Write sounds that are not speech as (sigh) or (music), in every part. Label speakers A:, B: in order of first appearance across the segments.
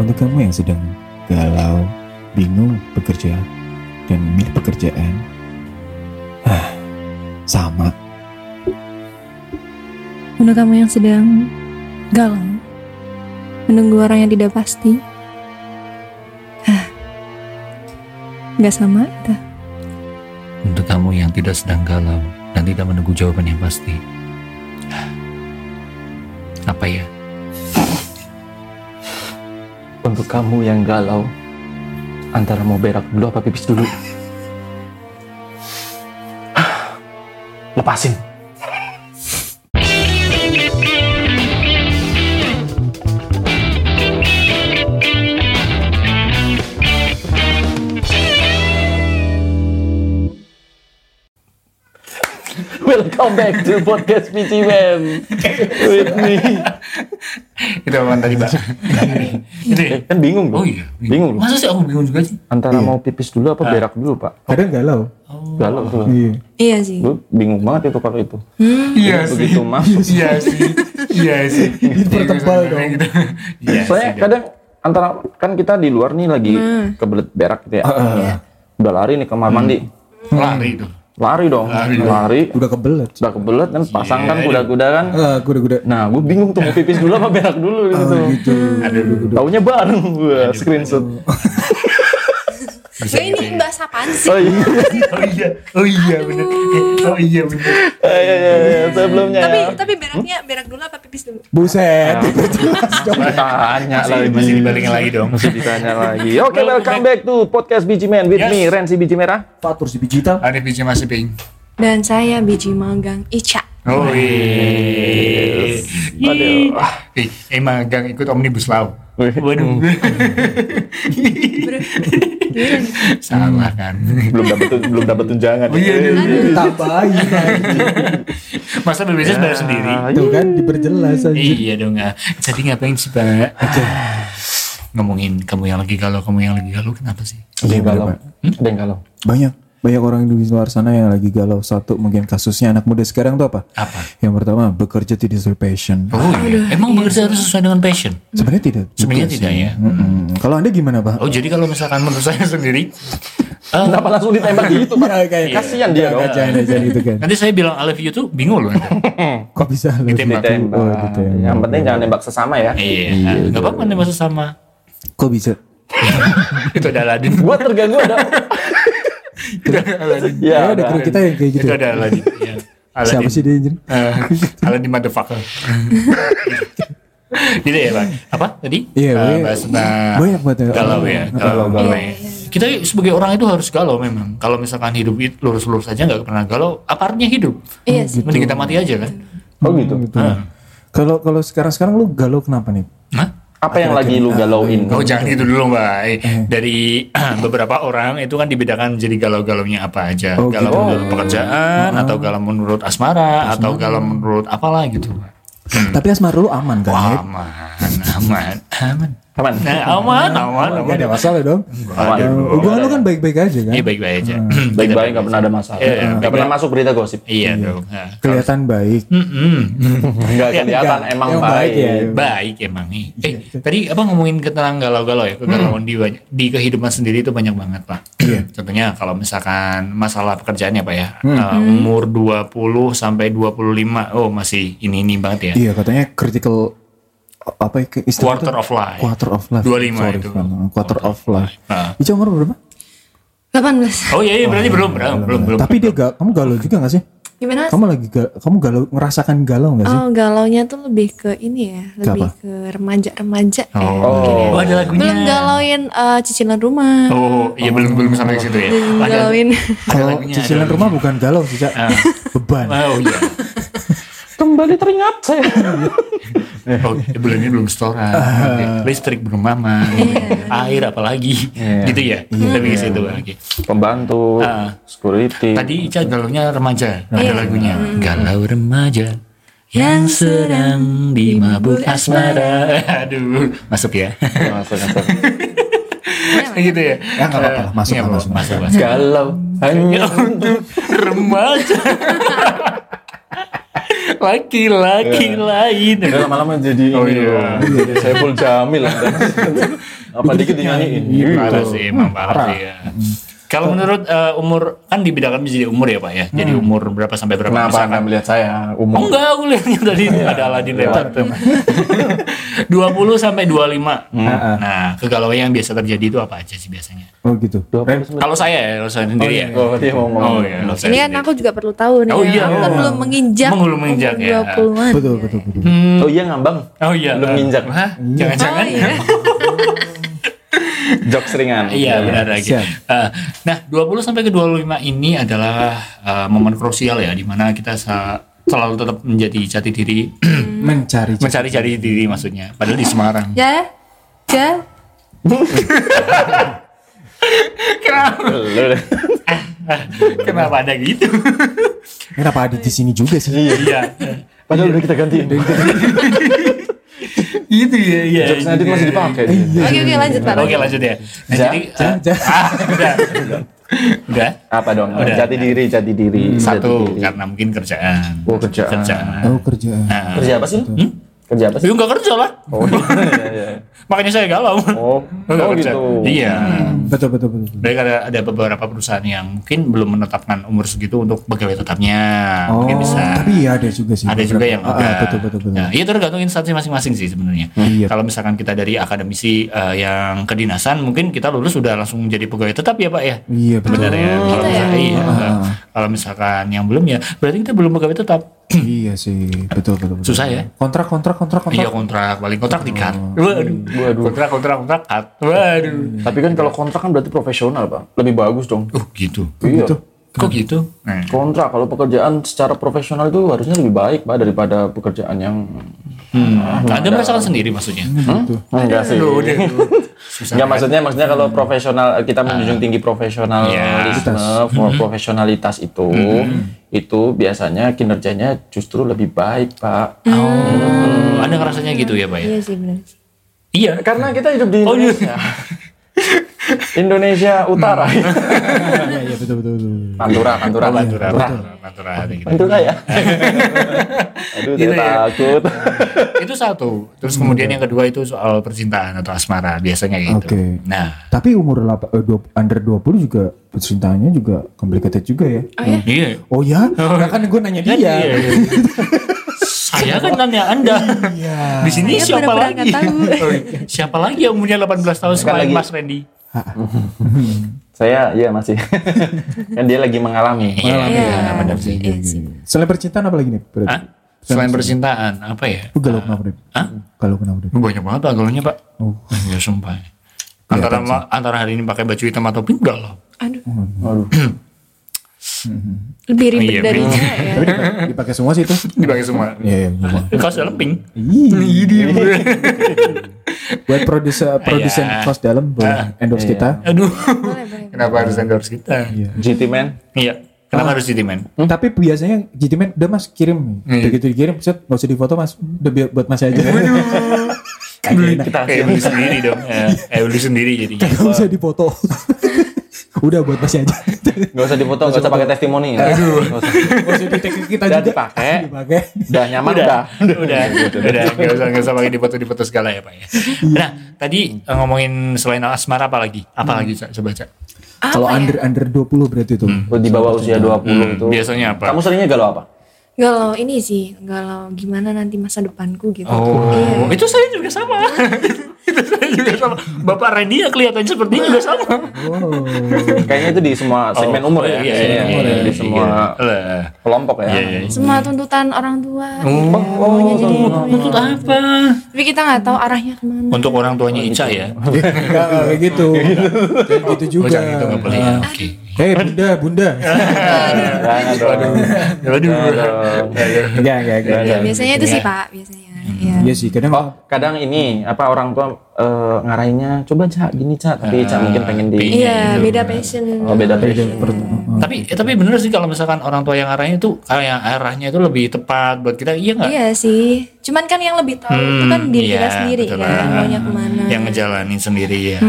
A: Untuk kamu yang sedang galau, bingung bekerja, dan memilih pekerjaan, ah, sama.
B: Untuk kamu yang sedang galau, menunggu orang yang tidak pasti, ah, nggak sama itu.
C: Untuk kamu yang tidak sedang galau dan tidak menunggu jawaban yang pasti. Apa ya?
D: Untuk kamu yang galau, antara mau berak dulu apa pipis dulu? (sighs) Lepasin. Welcome back to podcast PC (laughs) Mem with me.
C: Itu apaan tadi, Pak? Itu ya?
D: Eh, kan bingung
C: Oh
D: dong.
C: iya.
D: Bingung loh.
C: Masa sih aku bingung juga sih?
D: Antara mau pipis
C: Ah.
D: dulu apa berak dulu, Pak?
A: Kadang galau.
C: Oh.
D: Galau tuh.
A: Iya.
B: Iya sih.
D: Gue bingung banget itu kalau itu.
C: Iya
D: Jadi
C: sih.
D: begitu masuk.
C: Iya sih. Iya sih.
A: Dipertebal dong.
C: Gitu. Iya sih.
D: Soalnya kadang antara kan kita di luar nih lagi
B: Nah.
D: kebelet berak gitu ya.
B: Iya.
D: Udah lari nih kamar mandi.
C: Hmm. Lari itu.
D: Lari dong. Lari.
A: Udah kebelet.
D: Udah kebelet kan
C: Iya.
D: pasang kan kuda-kuda kan.
A: Ah, kuda-kuda.
D: Nah, gue bingung tuh mau pipis dulu apa berak dulu gitu. tuh.
A: Gitu.
D: Taunya bareng gue
C: Iya,
D: screenshot.
C: gitu. Bisa
B: Gue ini bahas apaan sih?
D: Oh iya,
C: Oh iya. Oh iya bener. Oh iya bener.
D: iya, iya, iya, iya, sebelumnya
B: Tapi
D: ya.
B: tapi beraknya berak dulu apa pipis dulu?
A: Buset. (laughs)
D: Tanya lagi.
C: Masih- Masih dibalikin lagi dong.
D: Masih
C: (laughs)
D: ditanya lagi. Oke, welcome back to podcast Biji Man with
C: Yes.
D: me, Rensi Biji Merah.
A: Fatur si digital.
C: Ada biji masih pink.
B: Dan saya biji magang Ica.
C: Oh iya.
D: Aduh. Ah,
C: Ih, emang gang ikut omnibus law.
D: Wih.
C: Waduh. Salah kan.
D: belum dapat belum dapat tunjangan. ya.
C: Iya, iya, iya.
A: Tambahin.
C: Masa BPJS bayar sendiri?
A: Tuh kan diperjelas aja.
C: Iya dong, ah. Jadi ngapain sih, Pak? Ngomongin kamu yang lagi galau, kamu yang lagi galau kenapa sih?
D: Ada yang galau. Ada yang galau.
A: Iya, Banyak. Banyak orang di luar sana yang lagi galau. Satu mungkin kasusnya anak muda sekarang tuh apa?
C: Apa?
A: Yang pertama bekerja tidak sesuai passion.
C: Oh iya. Emang bekerja harus sesuai dengan passion?
A: Sebenarnya tidak. juga
C: Sebenarnya
A: sih.
C: tidak ya.
A: Mm-mm. Kalau anda gimana pak?
C: Oh jadi kalau misalkan menurut saya sendiri, eh,
D: Kenapa langsung ditembak gitu? Pak?
A: (laughs) Iya, kayak
D: Kasihan dia dong.
A: jangan aja gitu kan.
C: nanti saya bilang I love you tuh bingung loh. nanti.
A: Kok bisa lu?
C: Ditembak.
A: Ditembak. Oh, ditembak.
D: Yang penting jangan nembak sesama ya.
C: Iya. Gak apa-apa nih masa sama.
A: Kok bisa?
C: Itu ada Aladin.
D: Gua terganggu ada.
A: (laughs)
C: (laughs) Itu Iya, ada Aladin.
D: ya,
A: Oh, ada kru kita yang kayak gitu.
C: Itu
A: ya?
C: ada Aladin. Iya. Aladin.
A: Siapa sih dia anjir?
C: Eh, Aladin motherfucker.
A: (laughs)
C: Gitu ya bang. Apa tadi?
A: Iya,
C: Eh,
A: banyak-
C: bahas tentang
A: banyak banget ya.
C: Galau ya. Galau, galau.
B: Iya, iya.
C: Kita sebagai orang itu harus galau memang. Kalau misalkan hidup itu lurus-lurus aja nggak pernah galau, apa artinya hidup?
B: Iya sih.
C: Mending kita mati aja kan.
D: Oh gitu.
A: Gitu. Kalau kalau sekarang sekarang lu galau kenapa nih?
C: Hah?
D: Apa yang lagi lu galauin?
C: Oh jangan gitu dulu mbak. Eh, Dari (clears throat) beberapa orang itu kan dibedakan jadi galau-galaunya apa aja.
A: Oh,
C: galau
A: gitu.
C: menurut pekerjaan atau galau menurut asmara atau galau menurut apalah gitu. Mbak.
A: Tapi asmara lu aman kan? Ed?
C: Aman, aman, aman.
D: Teman.
C: Nah, aman, aman,
A: Gak
C: aman.
A: ada masalah dong.
D: Aman.
C: Iya,
A: Eh, Hubungan lu kan baik-baik aja kan?
C: Eh baik-baik aja.
D: Baik-baik nggak pernah ada masalah.
C: Iya, iya.
D: Nggak pernah masuk berita gosip.
C: Iya dong. Nah,
A: Kelihatan baik.
C: mm-mm.
D: Nggak kelihatan
A: Nggak.
D: emang
A: Yang
D: baik.
A: ya.
C: Baik emang nih.
A: Iya,
C: Eh, tadi apa ngomongin tentang galau-galau ya? Kegalauan di banyak- di kehidupan sendiri itu banyak banget, Pak.
A: Hmm. Iya. Hmm.
C: Contohnya kalau misalkan masalah pekerjaannya Pak ya. Eh, umur 20 sampai 25. Oh, masih ini-ini banget ya.
A: Iya katanya critical apa ya, ke- istilah
C: Quarter
A: itu?
C: of life.
A: Quarter of life.
C: 25
A: Sorry,
C: itu.
A: Van. Quarter of life.
C: Nah.
A: Ica umur berapa?
B: 18.
C: Oh iya, iya berarti belum, belum, belum, belum.
A: Tapi dia ga- kamu galau juga gak sih?
B: Gimana?
A: Kamu lagi ga- kamu galau ngerasakan galau gak sih?
B: Oh, galaunya tuh lebih ke ini ya, lebih
A: apa?
B: ke remaja-remaja ya. mungkin ya.
C: Oh, ada lagunya.
B: Belum galauin eh, cicilan rumah.
C: Oh, iya belum belum sampai ke situ ya.
B: Belum
C: Ada-
B: galauin.
A: Kalau
C: lagunya, ada
A: cicilan
C: lagunya.
A: rumah bukan galau sih, Cak.
C: Ah.
A: Beban. (laughs)
C: Oh iya.
D: Kembali teringat
C: (laughs)
D: saya.
C: Oh, bulan ini belum setoran. Oke.
A: Ah.
C: Listrik belum mama. Air apalagi.
A: Iya.
C: Gitu ya. Lebih ke situ. Oke.
D: Pembantu,
C: Ah.
D: security.
C: Tadi Ica galaunya remaja. Ada lagunya. Galau remaja Iya. Hmm. yang sedang di mabuk asmara. (laughs) Aduh, masuk ya.
D: Masuk, masuk.
C: (laughs) gitu ya.
A: Ya nggak apa-apa lah, masuk
C: Iya,
A: lah, masuk,
C: masuk. (laughs) masuk.
D: Galau. Hanya
C: Remaja. (laughs)
A: Iya.
C: Laki-laki lain.
D: Ya,
C: (laughs)
D: lama-lama jadi
C: Oh,
D: ini
C: iya.
D: loh. Jadi Saiful Jamil. kan? Apa dikit dinyanyiin.
A: Iya, Hmm.
D: Gitu.
C: Parah Gitu. sih, emang parah sih ya. Kalau menurut eh, umur kan dibedakan menjadi umur ya pak ya. Jadi
A: Hmm.
C: umur berapa sampai berapa?
D: Kenapa
C: misalkan.
D: anda melihat saya
C: Oh
D: umum?
C: enggak, aku lihatnya tadi ada Aladin lewat. (laughs) 20 sampai 25. Nah, kegalauan yang biasa terjadi itu apa aja sih biasanya?
A: Oh gitu.
C: Kalau saya ya, kalau saya sendiri ya.
D: Oh, dia mau ngomong.
C: Oh iya, kalau saya
B: Ini kan
C: sendiri.
B: aku juga perlu tahu nih.
C: Oh, iya.
B: Aku kan belum menginjak.
C: Belum menginjak,
B: umur
C: ya.
B: 20-an.
A: Betul, betul, betul.
C: Hmm,
D: Oh iya ngambang.
C: Oh iya.
D: Belum nginjak.
C: Hah? Jangan-jangan.
B: Oh, iya.
D: Jok seringan.
C: Iya benar lagi.
A: Siap.
C: Eh, nah 20 sampai ke 25 ini adalah eh, momen krusial ya dimana kita sa- selalu tetap menjadi jati diri, (clears throat)
A: Mencari
C: mencari jati diri maksudnya. Padahal di Semarang.
B: Ya. Ya.
C: Kenapa?
D: Lu deh.
C: Kenapa ada gitu?
A: Kenapa ada di sini juga sih?
C: Iya.
D: Padahal udah kita gantiin.
C: Itu ya. Iya.
D: Jok Senadit masih dipakai.
B: Oke oke lanjut Pak.
C: Oke lanjut ya. Nah,
D: Ja,
C: jadi
A: ja,
C: eh,
A: ja.
C: (laughs) ah, udah. udah.
D: Apa dong?
C: Udah. Hmm.
D: Jati diri, jati diri. jati
C: Satu
D: diri.
C: karena mungkin kerjaan.
D: Oh, kerjaan.
A: Oh kerjaan.
C: Nah,
D: Kerja apa sih? Kerja apa sih?
C: Yuk nggak kerja lah.
D: Oh, iya, iya.
C: Makanya saya galau.
D: oh,
C: Nggak
D: oh
C: kerja.
D: gitu.
C: Iya.
A: Betul, betul, betul. betul.
C: Baik ada, ada beberapa perusahaan yang mungkin belum menetapkan umur segitu untuk pegawai tetapnya.
A: Oh,
C: mungkin bisa.
A: tapi ya ada juga sih.
C: ada juga
A: beberapa.
C: yang
A: Ah, ah,
C: enggak.
A: betul, betul, betul.
C: Nah, itu tergantung instansi masing-masing sih sebenarnya.
A: Iya.
C: Kalau misalkan kita dari akademisi eh, yang kedinasan, mungkin kita lulus sudah langsung jadi pegawai tetap ya, Pak ya.
A: Iya betul.
C: Benar ya. Kalau
B: gitu ya?
C: misalkan, iya.
A: Ah.
C: Kalau misalkan yang belum ya, berarti kita belum pegawai tetap.
A: Iya sih, betul, betul. betul.
C: Susah ya?
A: Kontrak, kontrak, kontrak, kontrak.
C: Iya kontrak, paling kontrak di cut. Waduh.
D: Waduh.
C: Kontrak, kontrak, kontrak cut. Waduh.
D: Tapi kan kalau kontrak kan berarti profesional, Pak. Lebih bagus dong.
C: Oh, gitu.
D: Iya.
A: Gitu.
C: Kok gitu? Nah.
D: Kontrak kalau pekerjaan secara profesional itu harusnya lebih baik, Pak, daripada pekerjaan yang
C: Hmm. Anda merasakan sendiri maksudnya?
D: Hmm.
A: Gitu.
D: Nah, enggak sih.
C: Aduh, udah. Susah. Hmm. Ah.
D: Enggak maksudnya maksudnya kalau profesional kita menjunjung tinggi profesionalisme, for- profesionalitas itu
C: Hmm.
D: itu biasanya kinerjanya justru lebih baik, Pak.
C: Hmm. Oh, Anda ngerasanya gitu ya, Pak ya?
B: Iya sih benar.
C: Iya.
D: Karena kita hidup di
C: Oh, iya.
D: Indonesia. Indonesia Utara.
C: Hmm.
A: Iya, iya betul, betul, betul.
D: Pantura, Pantura,
C: Pantura,
D: Pantura.
C: pantura, pantura, gitu.
D: Pantura
C: (laughs)
D: ya. Aduh,
C: Gitu
D: saya
C: ya.
D: takut.
C: itu satu terus kemudian yang kedua itu soal percintaan atau asmara biasanya gitu
A: Oke.
C: nah
A: Tapi umur lapa- eh, dua- under 20 juga percintaannya juga complicated juga ya.
B: Oh ya.
C: iya
A: Oh ya? Nah, kan gue nanya
C: Kan
A: dia.
C: iya. saya kan nanya anda
A: Iya.
C: di sini
B: Saya
C: siapa
B: benar-benar
C: lagi
B: nggak tahu.
C: (laughs) Oh, siapa lagi yang umurnya 18 tahun selain
D: lagi.
C: Mas Randy
D: Saya ya
C: (laughs)
D: masih. kan dia lagi mengalami.
C: iya
B: Iya.
C: iya, benar sih
A: Iya, iya, iya. Selain percintaan apa lagi nih? Berarti?
C: Hah? selain percintaan apa ya
A: Lu galau kenapa nih?
C: Hah?
A: Galau kenapa nih?
C: banyak banget pak galunya pak
A: Oh.
C: ya sumpah antara ma- antara hari ini pakai baju hitam atau pink galau
B: Aduh.
D: Aduh.
B: Lebih ribet
C: Iya,
B: dari
C: benar.
B: saya ya.
A: Tapi dipak- dipakai semua sih itu.
C: dipakai semua
A: Iya, iya, semua.
C: kaos dalam pink Iya.
A: Ih, Buat produser produsen
C: Iya.
A: kos dalam buat endorse kita.
C: aduh
B: Boleh, boleh.
C: kenapa harus endorse kita
A: Iya.
D: GT man.
C: iya kenapa harus jadi men
A: Hmm, Tapi biasanya jadi men udah mas kirim,
C: Iya.
A: begitu dikirim, set nggak usah difoto mas, udah biar buat mas aja.
C: beli kita kayak beli sendiri dong (laughs) ya, kayak beli sendiri jadi
A: (laughs) Nggak usah difoto. (laughs) udah buat mas aja.
D: Gak usah dipoto, gak usah pakai testimoni. ya. Nggak usah.
A: Nggak usah di teknik kita
D: Udah
A: juga.
D: dipakai.
A: Dipakai.
D: Udah nyaman udah.
C: udah udah udah nggak usah nggak usah pakai dipoto dipoto segala ya pak ya nah tadi eh, ngomongin selain asmara apa lagi apa lagi Cak? coba cak
B: Apa
A: Kalau
B: ya?
A: under under 20 berarti itu.
D: Di bawah usia 20 itu.
C: Hmm, biasanya apa
D: Kamu seringnya galau apa?
B: Galau ini sih, galau gimana nanti masa depanku gitu.
C: Oh, itu saya juga sama. (laughs) itu saya juga sama. Bapak Randy ya kelihatan sepertinya juga sama.
A: Wow.
D: Kayaknya itu di semua segmen umur
C: Iya,
D: ya.
C: iya,
D: Kayaknya
C: iya,
D: di semua
C: iya. Lah,
D: kelompok ya.
C: iya, iya.
B: Semua tuntutan orang tua.
C: Oh,
B: ya, maunya jadi itu, ya.
C: Untuk apa?
B: Tapi kita nggak tahu arahnya kemana.
C: Untuk orang tuanya Ica ya.
A: Nggak, (laughs) kayak gitu. Kayak gitu
C: Oh,
A: juga.
C: jangan itu nggak boleh. ya. Oke.
A: Hei bunda, bunda.
D: Jangan dong.
C: Waduh.
A: Enggak, enggak, enggak.
B: Ya, biasanya itu sih Pak, biasanya. Iya.
A: Iya sih, kadang
D: Oh, kadang ini apa orang tua eh, ngarahinnya coba cak gini cak, tapi
C: Ah,
D: cak mungkin pengen di
B: Iya, beda passion.
D: oh,
C: Iya.
D: beda
A: beda
D: passion.
A: per-
C: tapi eh, tapi bener sih kalau misalkan orang tua yang arahnya itu kayak yang arahnya itu lebih tepat buat kita iya nggak
B: Iya sih. Cuman kan yang lebih tahu itu kan diri kita
C: iya,
B: sendiri
C: betul
B: kan,
C: lah.
B: maunya kemana.
C: yang ngejalanin sendiri ya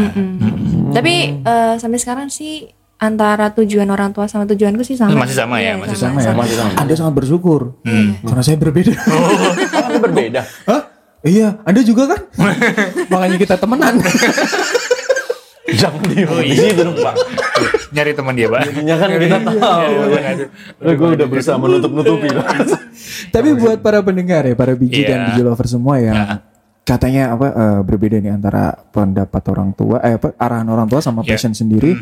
B: Tapi eh, sampai sekarang sih antara tujuan orang tua sama tujuanku sih sama.
C: Masih sama
B: Iya,
C: ya, masih
A: sama ya.
D: Masih sama.
A: Anda sangat bersyukur karena saya berbeda.
D: Kan itu berbeda.
A: Hah? Iya, Anda
C: (laughs)
A: juga kan? Makanya kita temenan.
D: Jangan
C: Oh,
D: di
C: iya.
D: di sini dong, Pak.
C: Nyari teman dia,
D: (laughs)
C: Pak.
D: Ya kan
C: iya,
D: kita tahu. Gue udah berusaha menutup-nutupi.
A: Tapi buat para pendengar ya, para biji
C: Iya.
A: dan biji lover semua ya. Katanya apa eh, berbeda nih antara pendapat orang tua eh apa arahan orang tua sama
C: Iya. hmm.
A: passion sendiri.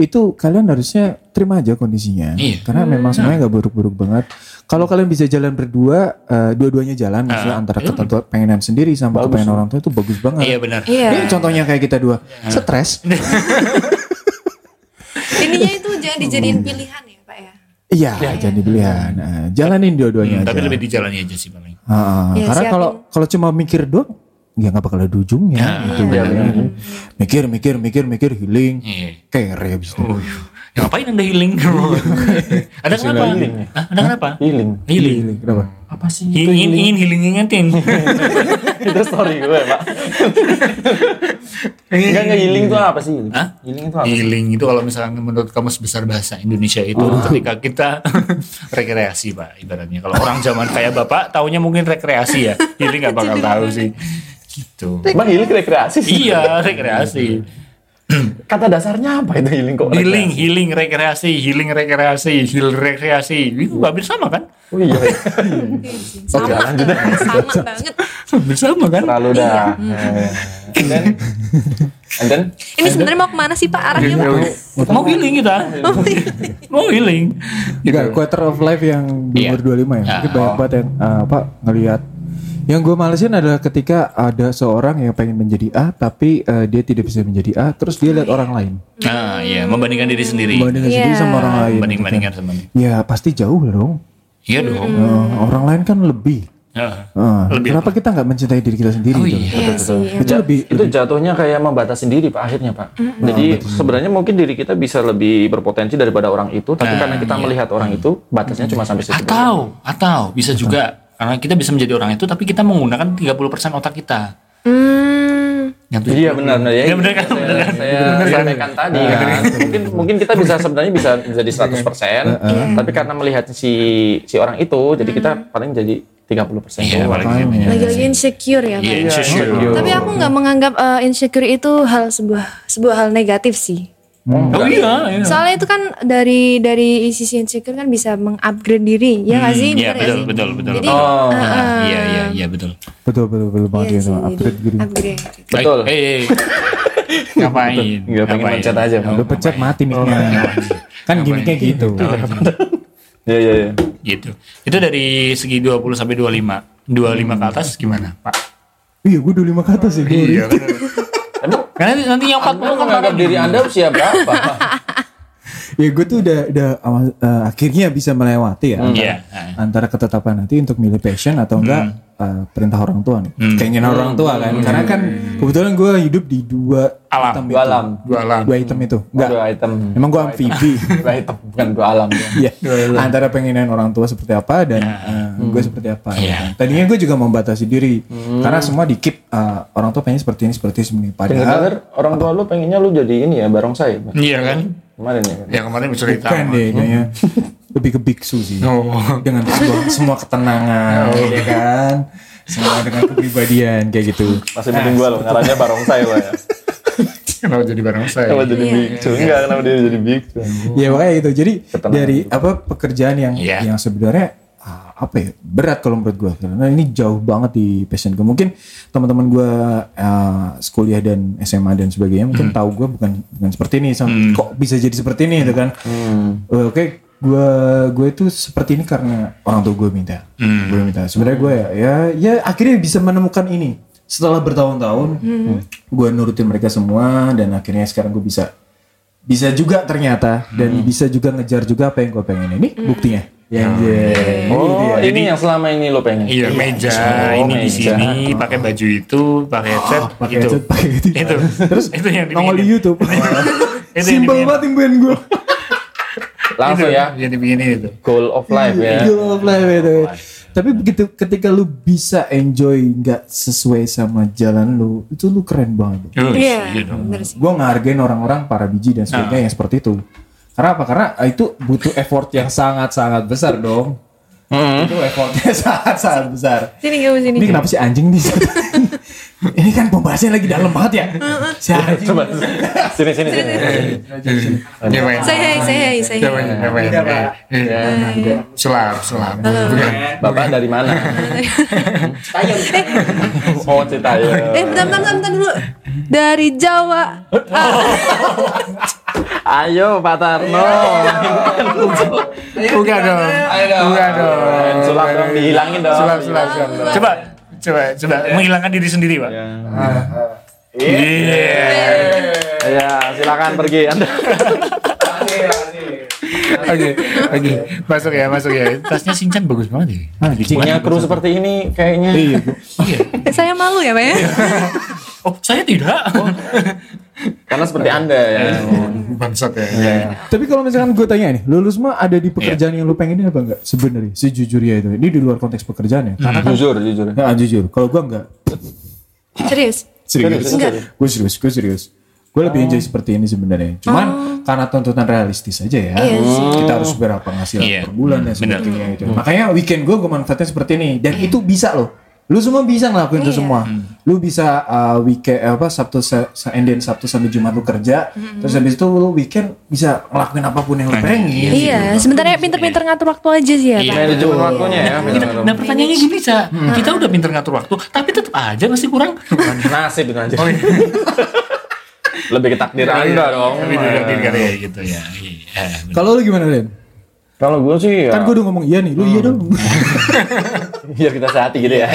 A: Itu kalian harusnya terima aja kondisinya.
C: Iya.
A: Karena memang semuanya nggak buruk-buruk banget. Kalau kalian bisa jalan berdua, eh, dua-duanya
C: Ah.
A: jalan maksudnya antara ketentuan pengenan sendiri sama kepengen orang tua itu bagus banget.
C: Hmm. Iya benar. Iya.
B: Iya.
A: Ini contohnya kayak kita dua, stres.
B: Ininya itu jangan dijadiin pilihan ya, Pak ya.
A: Iya, jangan dibelian.
C: Iya.
A: Nah, jalanin dua-duanya
C: Tapi
A: aja.
C: lebih dijalani aja sih paling.
A: Ah,
B: Ya,
A: karena
B: siapin.
A: kalau kalau cuma mikir doang, ya nggak bakal ada ujungnya.
C: Ya,
A: Gitu.
D: Iya, benar.
A: Mikir, mikir, mikir, mikir, healing,
C: Iya.
A: kere abis itu.
C: Oh, ya ngapain anda
D: (laughs)
C: healing? ada kenapa?
D: Iya. healing ya?
C: Hah, ada kenapa?
D: Healing.
C: Healing.
A: Healing, kenapa?
D: Apa sih?
C: Ingin ingin healing
D: (laughs)
C: ingetin.
D: itu story gue, Pak. Enggak enggak healing itu apa sih?
C: Hah?
D: Healing itu apa? sih?
C: Healing itu kalau misalnya menurut kamus besar bahasa Indonesia itu
D: Oh.
C: ketika kita (laughs) rekreasi pak ibaratnya kalau orang zaman kayak bapak taunya mungkin rekreasi ya healing nggak bakal tahu sih gitu
D: Emang healing rekreasi sih?
C: iya rekreasi
D: Kata dasarnya apa itu healing kok?
C: healing healing rekreasi healing rekreasi heal rekreasi itu hampir sama kan
D: rekreasi? Oh iya.
B: Sama. Sama banget.
C: (laughs) hampir sama kan
D: Terlalu dah. Iya, And then and then
B: Ini sebenarnya mau kemana sih Pak arahnya
C: Ya, Iya,
B: Pak?
C: mau healing kita mau healing
A: Enggak, quarter of life yang di
C: Gitu. Iya.
A: umur 25 ya. Mungkin
C: Ah,
A: banyak banget yang eh, apa ngelihat. Yang gue malesin adalah ketika ada seorang yang pengen menjadi A tapi eh, dia tidak bisa menjadi A, terus dia lihat orang lain.
C: nah ya membandingkan diri sendiri
A: Bandingkan
B: Iya.
A: sendiri sama orang lain.
C: banding bandingkan sama
A: Ya pasti jauh dong.
C: iya dong
B: Hmm.
A: Eh, orang lain kan lebih.
C: Ah.
A: Eh,
C: Lebih
A: kenapa kita nggak mencintai diri kita sendiri?
C: Oh
A: gitu?
B: Iya
C: iya.
B: sih.
A: Itu lebih
D: itu jatuhnya kayak membatasi diri Pak akhirnya Pak. Jadi sebenarnya mungkin diri kita bisa lebih berpotensi daripada orang itu, tapi karena kita melihat orang itu batasnya cuma sampai situ.
C: Atau, atau bisa juga karena kita bisa menjadi orang itu tapi kita menggunakan 30% otak kita.
B: Hmm.
C: Yang tujuh-
D: Iya benar benar ya.
C: Iya, benar kan?
D: Saya-
C: Benar kan?
D: Saya sampaikan tadi kan. Mungkin mungkin kita bisa sebenarnya bisa jadi 100%,
C: Iya.
D: tapi karena melihat si si orang itu jadi kita paling jadi 30%
C: Iya,
D: doang.
C: paling gitu ya.
B: Lagi-lagi insecure ya Pak.
C: Iya,
D: Iya,
C: insecure.
D: insecure.
B: Tapi aku nggak menganggap eh, insecure itu hal sebuah sebuah hal negatif sih.
C: Oh iya, iya.
B: Soalnya itu kan dari dari sisi insecure kan bisa mengupgrade diri, ya nggak sih?
C: Iya,
B: Bener nggak
C: betul,
B: sih?
C: betul, betul.
B: Jadi,
D: Oh.
B: eh, eh,
C: Ah, Iya, iya, iya, betul.
A: betul betul betul banget ya
B: iya sih,
A: sama
B: jadi
A: upgrade gitu.
B: upgrade.
C: Baik,
D: Betul.
C: Eh,
D: (laughs)
C: eh, eh. ngapain?
D: Nggak pengen
C: Ngapain?
D: mencet aja, Bang.
A: Udah
C: Oh,
A: pencet mati mic-nya. Kan gimmicknya gitu.
D: Iya iya iya.
C: Gitu. Itu dari segi 20 sampai 25. 25 ke atas gimana, Pak?
A: Iya, gue dulu lima kata sih. Iya. (laughs)
C: kan. Karena nanti- nanti yang 40
D: Anda
C: kan
D: menganggap diri Anda usia
C: (laughs)
D: berapa?
A: Ya gue tuh udah udah awal- eh, akhirnya bisa melewati ya. antara-
C: Iya.
A: Antara ketetapan nanti untuk milih passion atau enggak
C: Hmm.
A: eh, perintah orang tua nih. Keinginan orang tua kan. Karena kan kebetulan gue hidup di dua
C: Alam.
A: hitam
D: Dua
A: itu.
D: alam. Oh,
C: Dua alam.
A: Dua hitam itu. Enggak.
D: Dua item.
A: Emang gue amfibi.
D: (laughs) Dua item bukan dua alam. ya.
A: Iya. Antara pengenan orang tua seperti apa dan eh, gue seperti apa.
C: Iya.
A: gitu. Tadinya gue juga membatasi diri karena semua di keep eh, orang tua pengen seperti ini seperti ini. Padahal
D: Dengar orang tua lu pengennya lu jadi ini ya barongsai Pak.
C: Iya kan?
D: kemarin ya.
C: Yang kemarin bercerita.
A: bukan kan deh kayaknya (laughs) lebih ke biksu sih.
C: Oh.
A: Dengan semua, semua ketenangan, ya kan? Semua dengan kepribadian kayak gitu.
D: Masih mending gua lo ngarangnya barongsai lo
C: (laughs)
D: ya.
C: (laughs) Kenapa jadi barang saya?
D: Kenapa jadi biksu? Enggak, kenapa dia jadi biksu?
A: Ya makanya itu. Jadi
D: Ketenangan
A: dari apa pekerjaan yang
C: Iya.
A: yang sebenarnya ah, apa ya berat kalau menurut gue karena ini jauh banget di passion gue mungkin teman-teman gue eh, kuliah dan SMA dan sebagainya mungkin tahu gue bukan bukan seperti ini Sam. kok bisa jadi seperti ini gitu kan Eh, oke gue gue itu seperti ini karena orang tua gue minta gue minta sebenarnya gue ya, ya ya akhirnya bisa menemukan ini setelah bertahun-tahun gue nurutin mereka semua dan akhirnya sekarang gue bisa bisa juga ternyata dan
C: Hmm.
A: bisa juga ngejar juga apa yang gue pengen ini buktinya Ya,
C: Ya.
A: yang
D: Oh, ini yang selama ini lo pengen.
C: Iya, meja
D: Oh,
C: ini di
D: meja.
C: sini, pakai baju itu, (gasps) pakai headset, gitu.
A: pakai
C: itu.
A: headset, pakai itu.
C: Itu.
A: terus
C: itu yang
A: nongol di
C: dipinginin.
A: YouTube (laughs)
C: yang
A: simple
C: dipinginin.
A: banget impian gue
D: Langsung
C: Itu,
D: ya.
C: Yang dibikinin itu.
D: Goal of life
C: Iya.
D: ya.
A: Gila, Fly, gitu. tapi begitu ketika lu bisa enjoy nggak sesuai sama jalan lu itu lu keren banget
C: Terus,
B: Iya,
C: gitu.
B: bener sih.
C: Nah.
A: gue ngehargain orang-orang para biji dan sebagainya yang seperti itu Karena apa? Karena eh, itu butuh effort yang sangat-sangat besar dong. Itu effortnya (laughs) sangat-sangat besar.
B: Sini kamu sini.
A: Ini kenapa sih anjing
D: (laughs)
A: nih? ini kan pembahasannya lagi dalam banget ya. Si anjing.
D: Coba sini sini sini.
B: Say hi, say hi, say hi.
D: Iya,
C: iya, Selar, selar.
D: Bapak dari mana? Oh cerita
B: Eh, bentar, bentar, bentar, bentar dulu. Dari Jawa.
D: Ayo Pak Tarno.
C: Bukan dong. Bukan dong.
D: Eh, Sulap dong dihilangin dong.
C: Sulap, sulap, sulap. Coba, coba, coba menghilangkan diri sendiri, Pak. Iya.
D: Ya silakan pergi Anda.
C: Oke, oke. Masuk ya, masuk ya. Tasnya Sinchan bagus banget ya.
A: Anjing.
D: Punya kru seperti ini kayaknya.
A: Iya, gua-
C: Iya.
B: Saya malu ya, Pak ya?
C: Oh, saya tidak.
D: Karena seperti Anda ya.
C: Bangsat ya.
A: Tapi kalau misalkan gue tanya nih, lulus mah ada di pekerjaan
D: Iya.
A: yang lu pengenin apa enggak? Sebenarnya, sejujurnya itu. Ini di luar konteks pekerjaan ya. Karena
D: Jujur jujur.
A: Nah, jujur, kalau gue enggak
B: Serius.
A: serius. Gue serius, gue serius. Gue lebih
B: Oh.
A: enjoy seperti ini sebenarnya. Cuman karena tuntutan realistis aja ya.
B: Iya sih.
A: Kita harus berapa hasil
C: Iya.
A: per bulan dan
C: Benar.
A: sebagainya gitu. Makanya weekend gue gue manfaatnya seperti ini dan itu bisa loh. Lu semua bisa ngelakuin itu
B: Iya.
A: semua. Lu bisa uh, weekend apa Sabtu se se- and then Sabtu sampai Jumat lu kerja,
B: Hmm.
A: terus habis itu lu weekend bisa ngelakuin apapun yang lu pengen.
B: Iya, sebenarnya pinter-pinter ngatur waktu aja sih ya,
C: Iya.
B: Pak.
D: Manajemen waktunya ya. benar-benar.
C: Nah pertanyaannya gini, Sa. Kita udah pinter ngatur waktu, tapi tetap aja masih kurang.
D: Nasib itu aja. Oh, iya. Lebih ke takdir
C: Iya,
D: Anda Iya. dong.
C: Tapi tidak pinter ya gitu ya. Iya, benar.
A: Kalau lu gimana, Ren?
D: Kalau gue sih ya,
A: Kan gue udah ngomong iya nih, lu iya dong. (laughs)
D: biar kita sehati gitu ya.